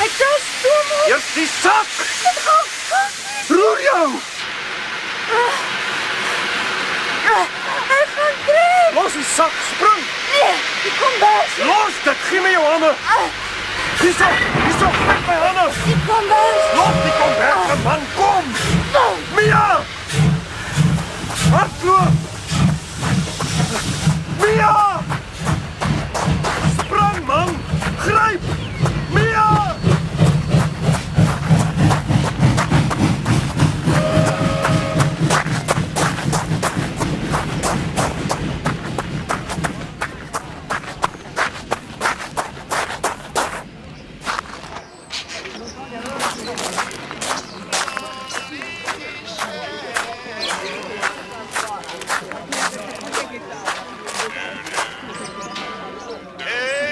Speaker 2: Hy tel stoom op.
Speaker 1: Eers die sak.
Speaker 2: Dit gaan koud.
Speaker 1: Roer jou.
Speaker 2: Ah. Hy gaan kry.
Speaker 1: Los die sak, spring.
Speaker 2: Nee, die komberse.
Speaker 1: Los dit, gee my jou hande. Hierso, hierso, gryp my hande.
Speaker 2: Die komberse.
Speaker 1: Los die kom weg, man, kom. Mia! Hardloop! Mia! Spring man, gryp! Mia!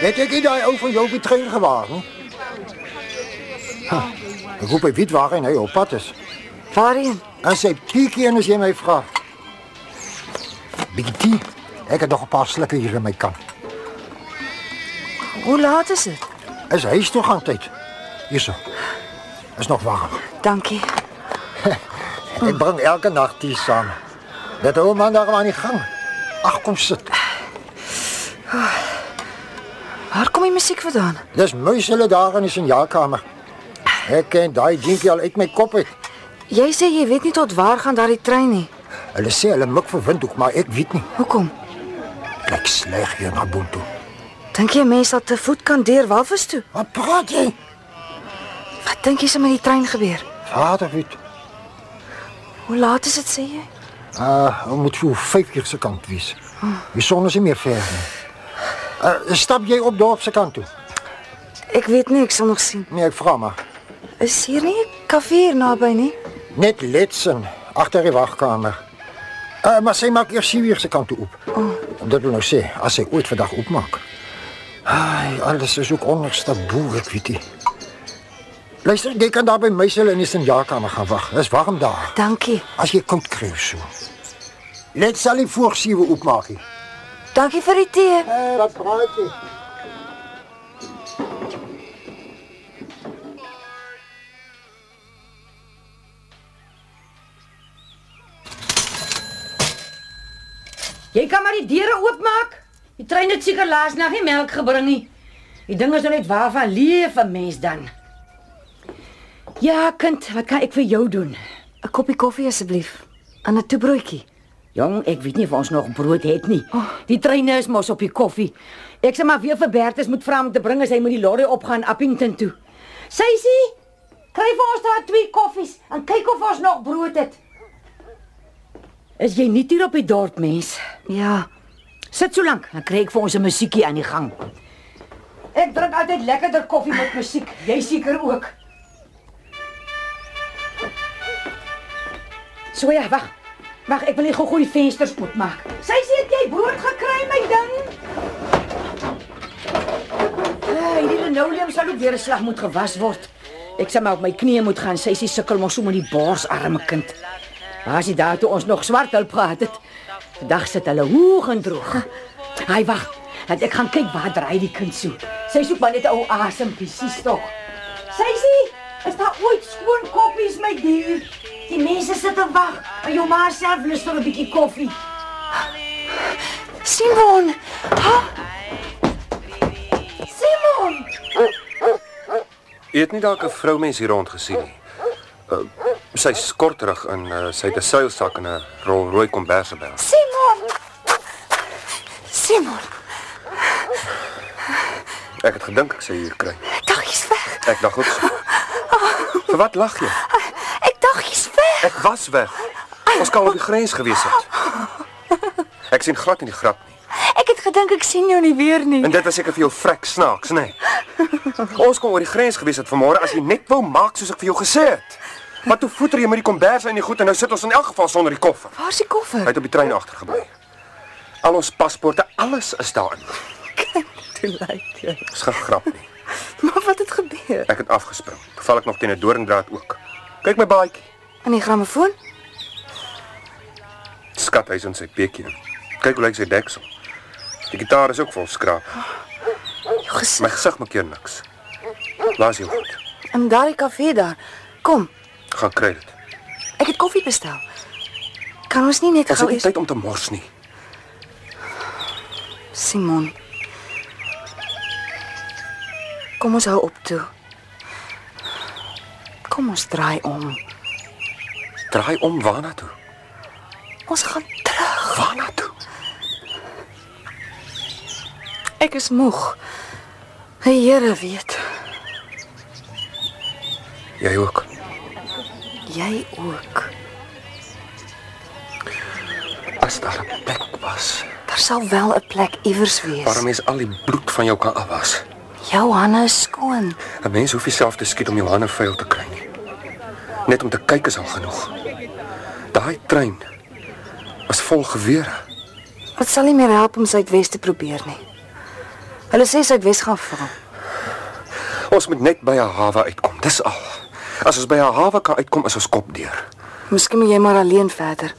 Speaker 7: Het ek nie daai ou van jou op die trein gewaar nie? Ha, ek hoop hy weet waar hy nou op pad is.
Speaker 2: Waarheen?
Speaker 7: As hy kykie en as jy my vra. Bietjie tee. Ek het nog 'n paar slikke hier in my kan.
Speaker 2: Hoe laat is dit?
Speaker 7: Is huis toe gaan tyd. Hierso. Is nog warm.
Speaker 2: Dankie.
Speaker 7: Ek bring elke nag tee saam. Dat hou man daar maar aan die gang. Ag kom sit.
Speaker 2: Waar kom die musiek vandaan?
Speaker 7: Dis muis hulle daar in die sinjaarkamer. Ek ken daai dinkie al uit my kop uit.
Speaker 2: Jy sê jy weet nie tot waar gaan daardie trein nie.
Speaker 7: Hulle sê hulle mik vir windhoek, maar ek weet nie.
Speaker 2: Hoekom?
Speaker 7: Ek sleg hier na Bonto.
Speaker 10: Dink jy mense dat te voet kan deur Walvis toe?
Speaker 7: Wat praat jy?
Speaker 10: Wat dink jy se met die trein gebeur?
Speaker 7: Vader weet.
Speaker 10: Hoe laat is dit sê jy?
Speaker 7: Ah, uh, moet so 5 uur se kant wees. Die son is nie meer ver nie. Uh, stap jy op dorp se kant toe?
Speaker 10: Ek weet nie, ek sal nog sien.
Speaker 7: Nee, ek vra maar.
Speaker 10: Is hier nie 'n kafee hier naby nie?
Speaker 7: Net letsen agter die wagkamer. Uh, maar sy maak eers 7 uur se kant toe op.
Speaker 10: Oh.
Speaker 7: Dit wil nou sê as sy ooit vandag oopmaak. Ai, alles is ook onderste boer, ek weet nie. Luister, jy kan daar by meisel in die sinjaarkamer gaan wag. Dis warm daar.
Speaker 10: Dankie.
Speaker 7: As jy koud kry so. Let sal die voor 7 oopmaak. hier.
Speaker 10: Dankie vir die tee.
Speaker 7: Eh, wat praat jy?
Speaker 2: Jy kan maar die deure oopmaak. Die trein het seker laas nag nie melk gebring nie. Die ding is nou net waarvan leef 'n mens dan? Ja, kind, wat kan ek vir jou doen?
Speaker 10: 'n Koppie koffie asseblief. En 'n toebroodjie.
Speaker 2: Jong, ek weet nie of ons nog brood het nie. Oh, Die treine is mos op die koffie. Ek sê maar weer vir Bertus moet vra om te bring as hy met die lorry opgaan Appington toe. Seisie, kry vir ons daar twee koffies en kyk of ons nog brood het. Is jy nie hier op die dorp mens?
Speaker 10: Ja.
Speaker 2: Sit so lank, dan kry ek vir ons 'n musiekie aan die gang. Ek drink altyd lekkerder koffie met musiek. Jy seker ook. So ja, wag. Wag, ek wil net gou-gou die vensters oopmaak. Sy sê het jy brood gekry my ding? Hey, die Eh, linoleum sal ook weer 'n slag moet gewas word. Ek sê maar op my knieë moet gaan. Sy sê sukkel mos so met die borsarme kind. Waar sy daar toe ons nog swart hulp gehad het. Vandag sit hulle hoog en droog. Hy wag. laat Ek gaan kyk waar draai die kind so. Sy soek maar net 'n ou asempiesie tog. Sy sê, is daar ooit skoon koffies my dier? Die mense sit en wag. En jou ma self lus vir 'n bietjie koffie.
Speaker 10: Simon.
Speaker 2: Simon.
Speaker 1: Jy het nie dalk 'n vroumens hier rond gesien nie. Uh, sy is kortrig in uh, sy het 'n seilsak en 'n rol rooi komberse by haar.
Speaker 10: Simon. Simon,
Speaker 1: Ek het gedink ek sou hier kry.
Speaker 10: dag jy's weg.
Speaker 1: Ek dacht ook. so. Vir wat lag jy?
Speaker 10: Ek dag jy's weg.
Speaker 1: Ek was weg. Ons kan op die grens gewees het. Ek sien glad nie die grap nie.
Speaker 10: Ek het gedink ek sien jou nie weer nie.
Speaker 1: En dit was seker vir jou vrek snaaks, nê? Nee. Ons kon oor die grens gewees het vanmôre as jy net wou maak soos ek vir jou gesê het. Maar toe voeter jy met die kombers in die goed en nou sit ons in elk geval sonder die koffer.
Speaker 10: Waar's die koffer?
Speaker 1: Hy het op die trein agtergebly. Al ons paspoorte, alles is daarin.
Speaker 10: Toe lyk jy.
Speaker 1: Dis geen grap nie.
Speaker 10: Maar wat het gebeur?
Speaker 1: Ek het afgespring. Val ek nog teen 'n doringdraad ook. Kyk my baadjie.
Speaker 10: In die grammofoon?
Speaker 1: Skat, hy's in sy peekie. in. Kyk hoe lyk sy deksel. Die gitaar is ook vol skraap.
Speaker 10: Jou gesig
Speaker 1: My gesig maak hier niks. Laat jou goed.
Speaker 10: in daardie kafee daar. Kom,
Speaker 1: Gaan kry dit.
Speaker 10: ek het koffie bestel. Kan ons nie net
Speaker 1: Ons het
Speaker 10: gou
Speaker 1: nie
Speaker 10: eers
Speaker 1: tyd om te mors nie.
Speaker 10: Simon. Kom ons hou op toe. Kom ons draai om.
Speaker 1: Draai om waarna toe.
Speaker 10: Ons gaan terug.
Speaker 1: Waarna toe?
Speaker 10: Ek is moeg. Die Here weet.
Speaker 1: Jy ook.
Speaker 10: Jy ook.
Speaker 1: As daar 'n plek was
Speaker 10: Daar sal wel 'n plek iewers
Speaker 1: waar 'n
Speaker 10: wees.
Speaker 1: mens al die bloed van jou kan afwas.
Speaker 10: Jou hande is skoon.
Speaker 1: 'n Mens hoef jouself te skiet om jou hande vuil te kry nie. Net om te kyk is al genoeg. Daai trein was vol gewere.
Speaker 10: Dit sal nie meer help om Suidwes te probeer nie. Hulle sê Suidwes gaan val.
Speaker 1: Ons moet net by 'n hawe uitkom, dis al. As ons by 'n hawe kan uitkom, is ons kop deur.
Speaker 10: Miskien moet jy maar alleen verder.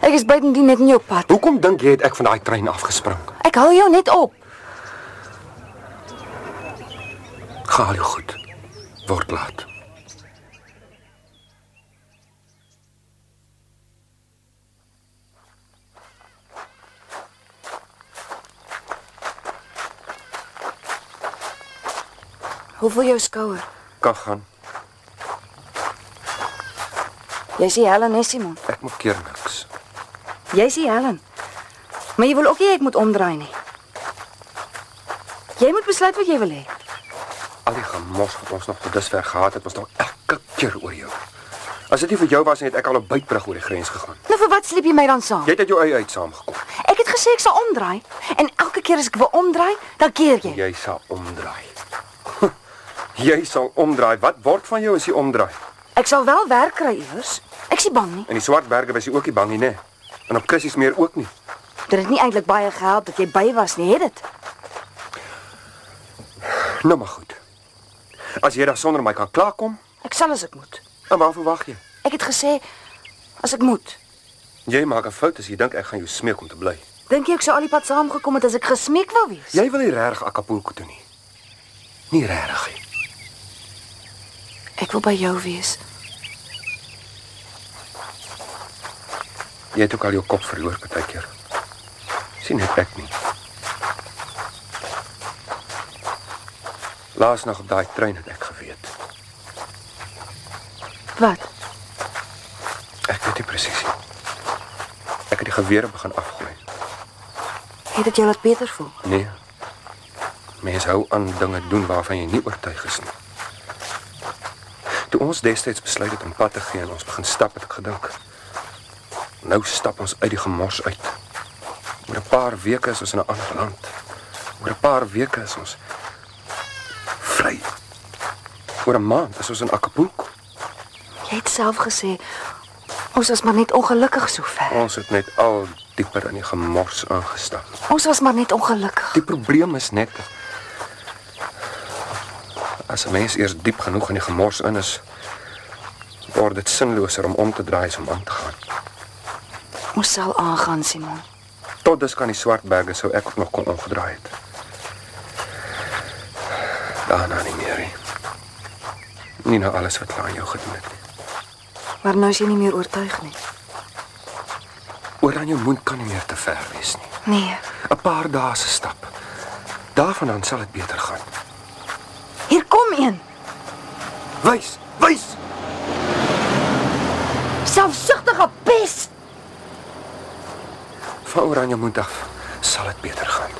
Speaker 10: Ek is buitendien net in jou pad.
Speaker 1: Hoekom dink jy het ek van daai trein afgespring?
Speaker 10: Ek hou jou net op.
Speaker 1: Gaal jou goed. Word laat.
Speaker 10: Hoe voel jou skouer?
Speaker 1: Kan gaan.
Speaker 10: Jy sê Helen, hè Simon?
Speaker 1: Ek maak keer niks.
Speaker 10: Jy sê Helen. Maar jy wil ook nie ek moet omdraai nie.
Speaker 2: Jy moet besluit wat jy wil hê.
Speaker 1: Al die gemos wat ons nog tot dusver gehad het, was nou elke keer oor jou. As dit nie vir jou was nie, het ek al op bytbrug oor die grens gegaan.
Speaker 2: Nou vir wat sleep jy my dan saam?
Speaker 1: Jy het uit jou eie uit saamgekom.
Speaker 2: Ek het gesê ek sal omdraai en elke keer as ek wil omdraai, dan keer jy.
Speaker 1: Jy sal omdraai. Jy sal omdraai. Wat word van jou as jy omdraai?
Speaker 2: Ek sal wel werk kry iewers. Ek is nie bang nie.
Speaker 1: In die Swartberge was jy ook nie bang nie, né? En op Christies meer ook nie.
Speaker 2: Dit het nie eintlik baie gehelp dat jy by was nie, het dit?
Speaker 1: Nou maar goed. As jy daar sonder my kan klaarkom,
Speaker 2: Ek sal as ek moet.
Speaker 1: dan waarvoor wag jy?
Speaker 2: Ek het gesê as ek moet.
Speaker 1: Jy maak 'n fout as jy dink ek gaan jou smeek om te bly.
Speaker 2: Dink jy ek sou al die pad saamgekom het as ek gesmeek wou wees?
Speaker 1: Jy wil nie regtig Acapulco toe nie. Nie regtig nie.
Speaker 2: Ek wil by jou wees.
Speaker 1: Jy het ook al jou kop verloor partykeer. Sien net ek nie. Laas nog op daai trein het ek geweet.
Speaker 2: Wat?
Speaker 1: Ek weet nie presies nie. Ek het die gewere begin afgooi.
Speaker 2: Het dit jou laat beter voel?
Speaker 1: Nee. Mense hou aan dinge doen waarvan jy nie oortuig is nie. Toe ons destyds besluit het om pad te gaan en ons begin stap het ek gedink. Nou stap ons uit die gemors uit. Oor 'n paar weke is ons in 'n ander land. Oor 'n paar weke is ons vry. Oor 'n maand is ons in Acapulco.
Speaker 2: Jy het self gesê ons was maar net ongelukkig so ver.
Speaker 1: Ons het net al dieper in die gemors aangestap.
Speaker 2: Ons was maar net ongelukkig.
Speaker 1: Die probleem is net as 'n mens eers diep genoeg in die gemors in is, word dit sinloser om om te draai as om aan te gaan.
Speaker 2: Ons sal aangaan, Simon.
Speaker 1: Tot dus kan die Swartberge sou ek ook nog kon omgedraai het. Daarna nie meer nie. Nie na alles wat hulle aan jou gedoen het. nie.
Speaker 2: Maar nou is jy nie meer oortuig nie.
Speaker 1: Oor aan jou mond kan nie meer te ver wees nie.
Speaker 2: Nee.
Speaker 1: 'n Paar dae se stap. Daarvandaan sal dit beter gaan.
Speaker 2: Hier kom een.
Speaker 1: Wys, wys.
Speaker 2: Selfsugtige pes.
Speaker 1: Van Oranje moet af sal dit beter gaan.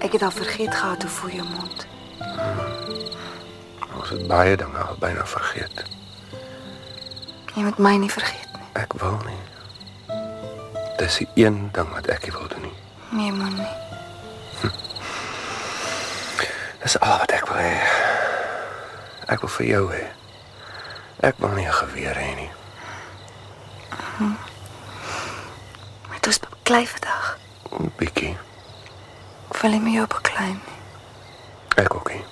Speaker 2: Ek het al vergeet gehad hoe voel jou mond.
Speaker 1: Ons het baie dinge al byna vergeet.
Speaker 2: Jy moet my nie vergeet
Speaker 1: Ek wil nie. Dis die een ding wat ek nie wil doen nie.
Speaker 2: nie, moenie.
Speaker 1: Dis al wat ek wil hê. Ek wil vir jou hê. Ek wil nie 'n geweer hê nie.
Speaker 2: Met ons beklei vandag.
Speaker 1: 'n Bietjie.
Speaker 2: Ek wil nie met jou beklei nie.
Speaker 1: Ek ook nie.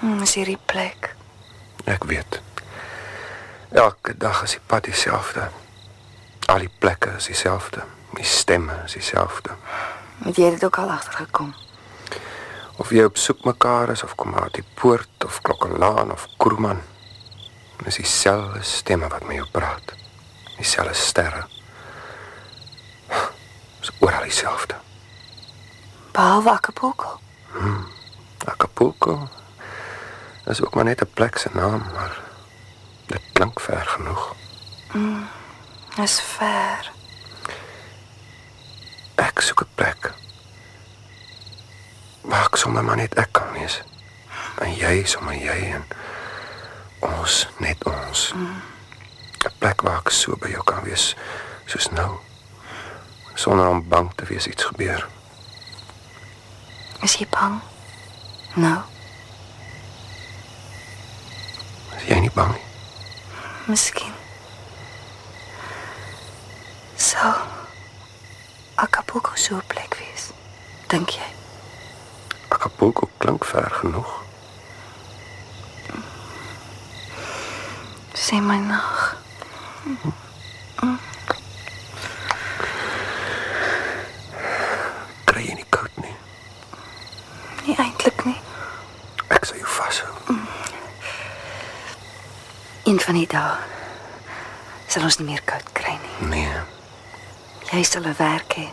Speaker 2: Hm, is hierdie plek.
Speaker 1: Ek weet. Elke dag is die pad dieselfde. Al die plekke is dieselfde. Die stemme is dieselfde.
Speaker 2: Het jy dit ook al agtergekom?
Speaker 1: Of jy op soek mekaar is of kom uit die poort of Klokkenlaan of Koerman. Dis dieselfde stemme wat met jou praat. Dieselfde sterre. Dis oral dieselfde.
Speaker 2: Behalwe Acapulco.
Speaker 1: Hmm. Acapulco is ook maar net 'n plek se naam, maar dit klink ver genoeg.
Speaker 2: Hm. Is ver.
Speaker 1: Ek soek 'n plek waar ek sommer maar net ek kan wees. En jy sommer jy en ons net ons. 'n Plek waar ek so by jou kan wees soos nou. Sonder om bang te wees iets gebeur.
Speaker 2: Is jy bang? Nou,
Speaker 1: Is jy nie bang nie?
Speaker 2: miskien. Sal Acapulco so 'n plek wees? Dink jy?
Speaker 1: Acapulco klink ver genoeg.
Speaker 2: Sê my nag.
Speaker 1: Kry jy nie koud nie.
Speaker 2: Nie eintlik nie.
Speaker 1: Ek sal jou vashou.
Speaker 2: Een van die dae sal ons nie meer koud kry nie.
Speaker 1: Nee.
Speaker 2: Jy sal 'n werk hê.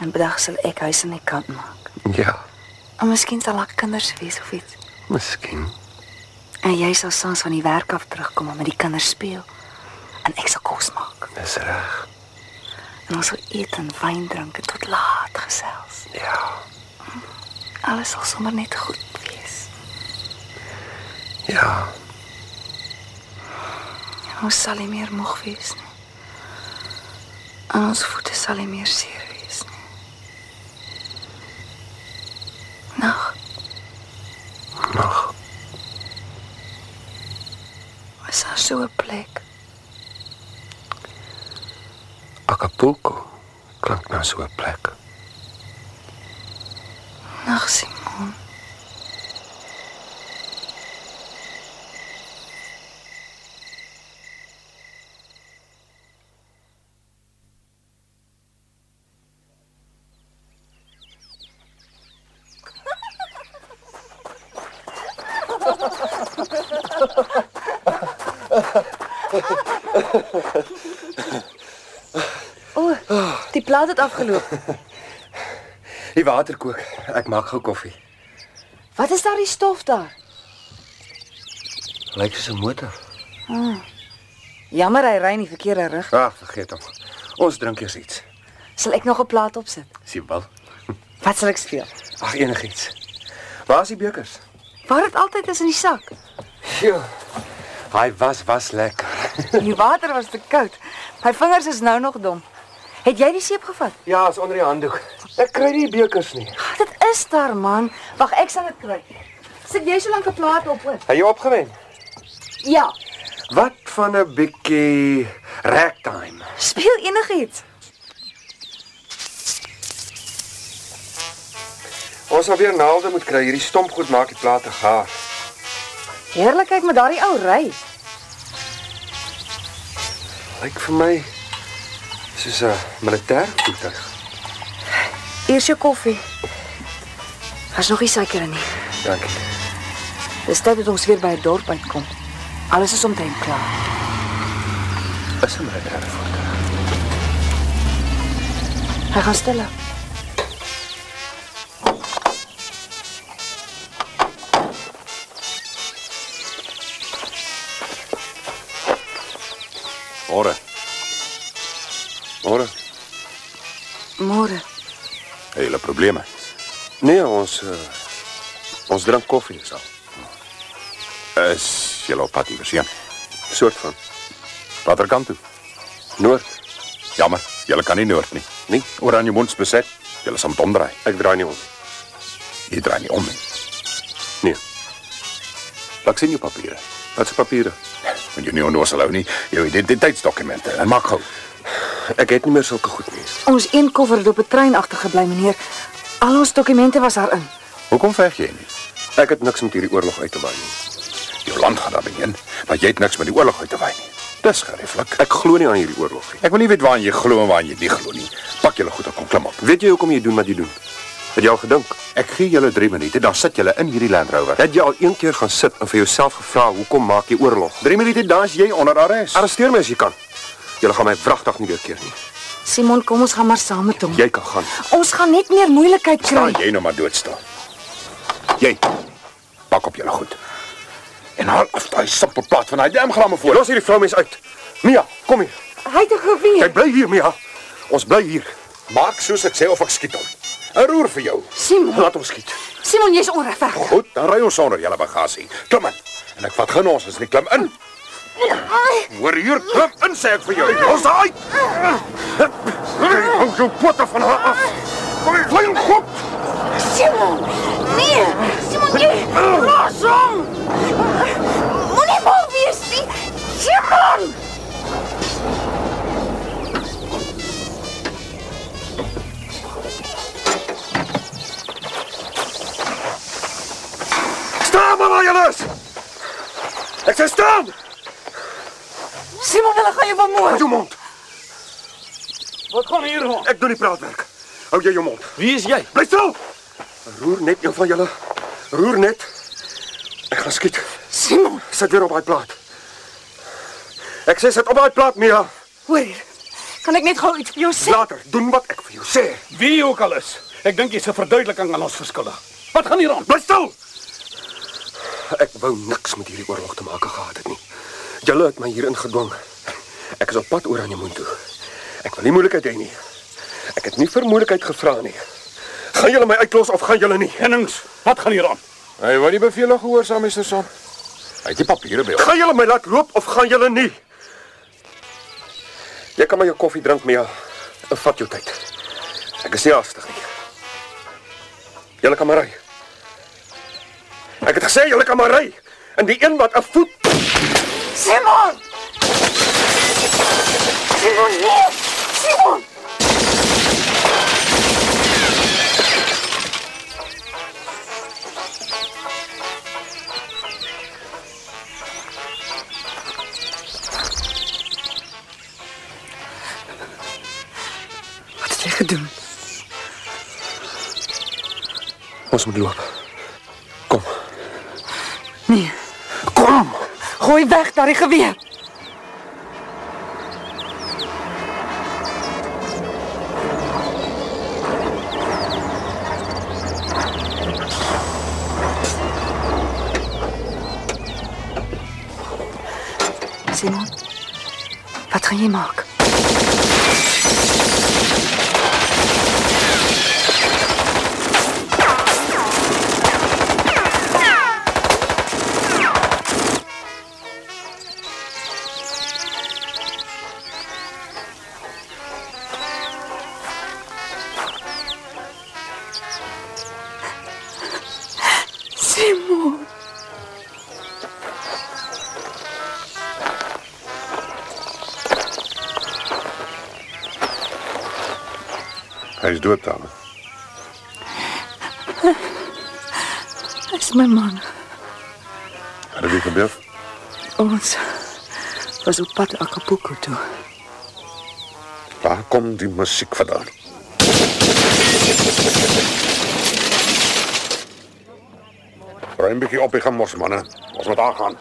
Speaker 2: En bedag sal ek huis aan die kant maak.
Speaker 1: Ja,
Speaker 2: En miskien sal ek kinders wees of iets.
Speaker 1: miskien.
Speaker 2: En jy sal soms van die werk af terugkom en met die kinders speel. En ek sal kos maak.
Speaker 1: Dis reg.
Speaker 2: En ons sal eet en wyn drink en tot laat gesels.
Speaker 1: Ja.
Speaker 2: Alles sal sommer net goed wees.
Speaker 1: Ja,
Speaker 2: En Ons sal nie meer moeg wees nie. En ons voete sal nie meer seer wees nie. Nag.
Speaker 1: nog.
Speaker 2: Is daar so 'n plek?
Speaker 1: Acapulco klink na so 'n plek.
Speaker 2: Nag, Simon. O, die plaat het afgeloop.
Speaker 1: Die water kook. Ek maak gou koffie.
Speaker 2: Wat is daardie stof daar?
Speaker 1: Lyk soos 'n motor.
Speaker 2: Ah. Jammer, hy ry in die verkeerde rig.
Speaker 1: Ag, vergeet hom. Ons drink eers iets.
Speaker 2: Sal ek nog 'n plaat opsit?
Speaker 1: Sibal.
Speaker 2: Wat sal ek speel?
Speaker 1: Ag, enigiets. Waar is die bekers?
Speaker 2: Waar dit altyd is in die sak.
Speaker 1: Jo. Ja. Hy was was lekker.
Speaker 2: Die water was te koud. My vingers is nou nog dom. Het jy die seep gevat?
Speaker 1: Ja, is onder die handdoek. Ek kry nie die bekers nie.
Speaker 2: Ah, Dit is daar, man. Wag, ek sal dit kry. Sit jy so lank 'n plaat op oor?
Speaker 1: Het jy opgewen?
Speaker 2: Ja.
Speaker 1: Wat van 'n bietjie ragtime?
Speaker 2: Speel enigiets.
Speaker 1: Ons sal weer naalde moet kry. Hierdie stomp goed maak die plate gaar.
Speaker 2: Heerlikheid met daardie ou ry.
Speaker 1: Lyk vir my soos 'n militêr voertuig.
Speaker 2: Eers jou koffie. Daar's nog nie suiker in nie.
Speaker 1: Dankie.
Speaker 2: Dis tyd dat ons weer by 'n dorp uitkom. Alles is omtrent klaar.
Speaker 1: Is 'n militêr voertuig.
Speaker 2: Hy gaan stil.
Speaker 11: Môre. Môre.
Speaker 2: Môre.
Speaker 11: Hele probleme.
Speaker 1: Nee, ons uh,
Speaker 11: eh,
Speaker 1: ons drink koffie is al.
Speaker 11: Is jy op pad iewers heen?
Speaker 1: Soort van.
Speaker 11: Watter kant toe?
Speaker 1: Noord.
Speaker 11: Jammer, jy kan nie noord nie.
Speaker 1: Nee,
Speaker 11: Oranje mond beset. Jy sal moet omdraai.
Speaker 1: Ek draai nie om.
Speaker 11: Jy draai nie om nie.
Speaker 1: Nee.
Speaker 11: Laat sien jou papiere. Wat se papiere? Want jy nie onnoos hou nie. Jou identiteitsdokumente. En maak gou.
Speaker 1: Ek het nie meer sulke goed nie.
Speaker 2: Ons een koffer het op 'n trein agtergebly, meneer. Al ons dokumente was daarin.
Speaker 11: Hoekom veg jy nie?
Speaker 1: Ek het niks met hierdie oorlog uit te waai nie.
Speaker 11: Jou land gaan daarin in, maar jy het niks met die oorlog uit te wy nie. Dis gerieflik.
Speaker 1: Ek glo nie aan hierdie oorlog nie.
Speaker 11: Ek wil nie weet waar jy glo en waar jy nie glo nie. Pak julle goed en kom klim op.
Speaker 1: Weet jy hoekom jy doen wat jy doen? Het jy al gedink?
Speaker 11: Ek gee julle 3 minute, dan sit julle in hierdie Land Rover.
Speaker 1: Het jy al een keer gaan sit en vir jouself gevra hoekom maak jy oorlog?
Speaker 11: 3 minute, dan is jy onder arrest.
Speaker 1: Arresteer my as jy kan. Jy gaan my wragtig nie weer keer nie.
Speaker 2: Simon, kom ons gaan maar saam met hom.
Speaker 1: Jy kan gaan.
Speaker 2: Ons gaan net meer moeilikheid
Speaker 11: Ja. Staan
Speaker 2: kry.
Speaker 11: jy nou maar dood staan. Jy pak op julle goed. En haal af daai sippelplaat van daai damglamme voor.
Speaker 1: Los hierdie vroumens uit. Mia, kom hier.
Speaker 2: Hy het 'n geweer.
Speaker 1: Jy bly hier, Mia. Ons bly hier.
Speaker 11: Maak soos ek sê of ek skiet hom. 'n Roer vir jou.
Speaker 2: Simon,
Speaker 1: Laat ons skiet.
Speaker 2: Simon, jy's onregverdig.
Speaker 11: Goed, dan ry ons sonder julle bagasie. Klim in. En ek vat geen ons as nie klim in. Hoor hier, klim in sê ek vir jou. Los daai. Hou jou potte van haar af. Kom hier, vlei hom goed.
Speaker 12: Simon! Nee! Simon, jy los hom! Moenie mal wees nie! Simon!
Speaker 1: Staan maar waar jy is. Ek sê staan.
Speaker 12: Simon, hulle gaan jou vermoor.
Speaker 1: Hou jou mond.
Speaker 13: Wat gaan hier aan?
Speaker 1: Ek doen die praatwerk. Hou jy jou mond.
Speaker 13: Wie is jy?
Speaker 1: Bly stil. Roer net een van julle. Roer net. Ek gaan skiet.
Speaker 12: Simon,
Speaker 1: sit weer op daai plaat. Ek sê sit op daai plaat, Mia.
Speaker 12: Hoor hier. Kan ek net gou iets vir jou sê?
Speaker 1: Later, doen wat ek vir jou sê.
Speaker 13: Wie ook al is. Ek dink jy's 'n verduideliking aan ons verskille. Wat gaan hier aan?
Speaker 1: Bly stil. Ek wou niks met hierdie oorlog te maak gehad het nie. Julle het my hier ingedwing. Ek is op pad oor aan jou mond toe. Ek wil nie moeilikheid hê nie. Ek het nie vir moeilikheid gevra nie. Gaan julle my uitlos of gaan julle nie?
Speaker 13: Hennings, wat gaan hier aan?
Speaker 11: Hy wou nie beveel gehoorsaam meester Son. Hy het die papiere by hom.
Speaker 1: Gaan julle my laat loop of gaan julle nie? Jy kan maar jou koffie drink, Mia. Vat jou tyd. Ek is nie haastig nie. Julle kan maar ry. Ek het gesê julle kan maar ry. En die een wat 'n voet
Speaker 12: Simon! Simon, nee! Simon! Wat het jy gedoen?
Speaker 1: Ons moet loop.
Speaker 12: Nee.
Speaker 1: Kom!
Speaker 12: Gooi weg daardie geweer.
Speaker 2: Simon. Wat gaan jy maak?
Speaker 12: Simon.
Speaker 11: Hy is dood dan.
Speaker 2: Dis my man.
Speaker 11: Wat het dit gebeur?
Speaker 2: Ons was op pad Acapulco toe.
Speaker 11: Waar kom die musiek vandaan? Ruim bietjie op, ek gaan mos manne. Ons moet aangaan.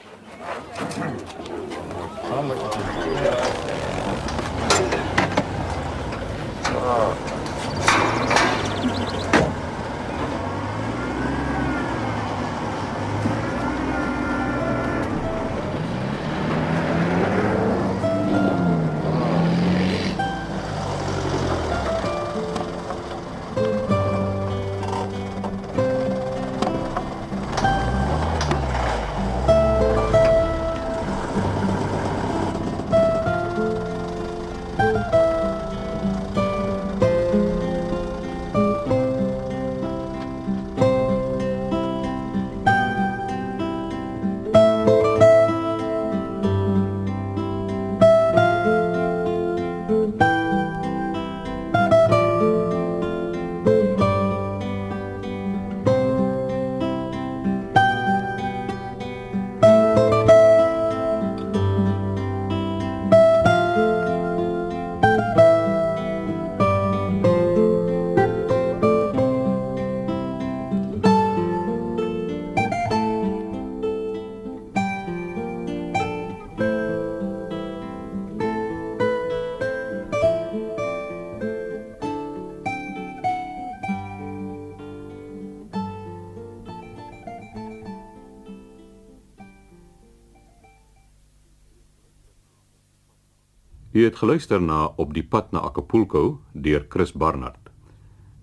Speaker 3: U het geluister na Op die pad na Acapulco deur Chris Barnard.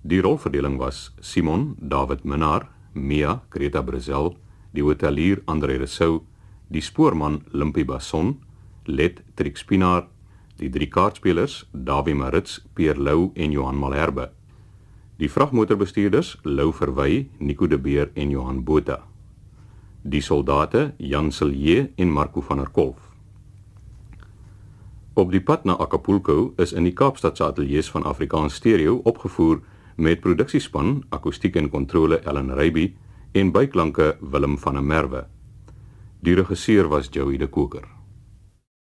Speaker 3: Die rolverdeling was Simon David Minnar, Mia Greta Brazel, die hotelier Andre Rousseau, die spoorman Limpie Bason, Let Trix Pinaar, die drie kaartspelers Dawie Marits, Pierre Lou en Johan Malherbe. Die vragmotorbestuurders Lou Verwy, Nico de Beer en Johan Botha. Die soldate Jan Silje en Marco van der Kolf. Op die pad na Acapulco is in die Kaapstad se ateljee van Afrikaans Stereo opgevoer met produksiespan akoestiek en kontrole Ellen Reiby en byklanke Willem van der Merwe. Die regisseur was Joey de Koker.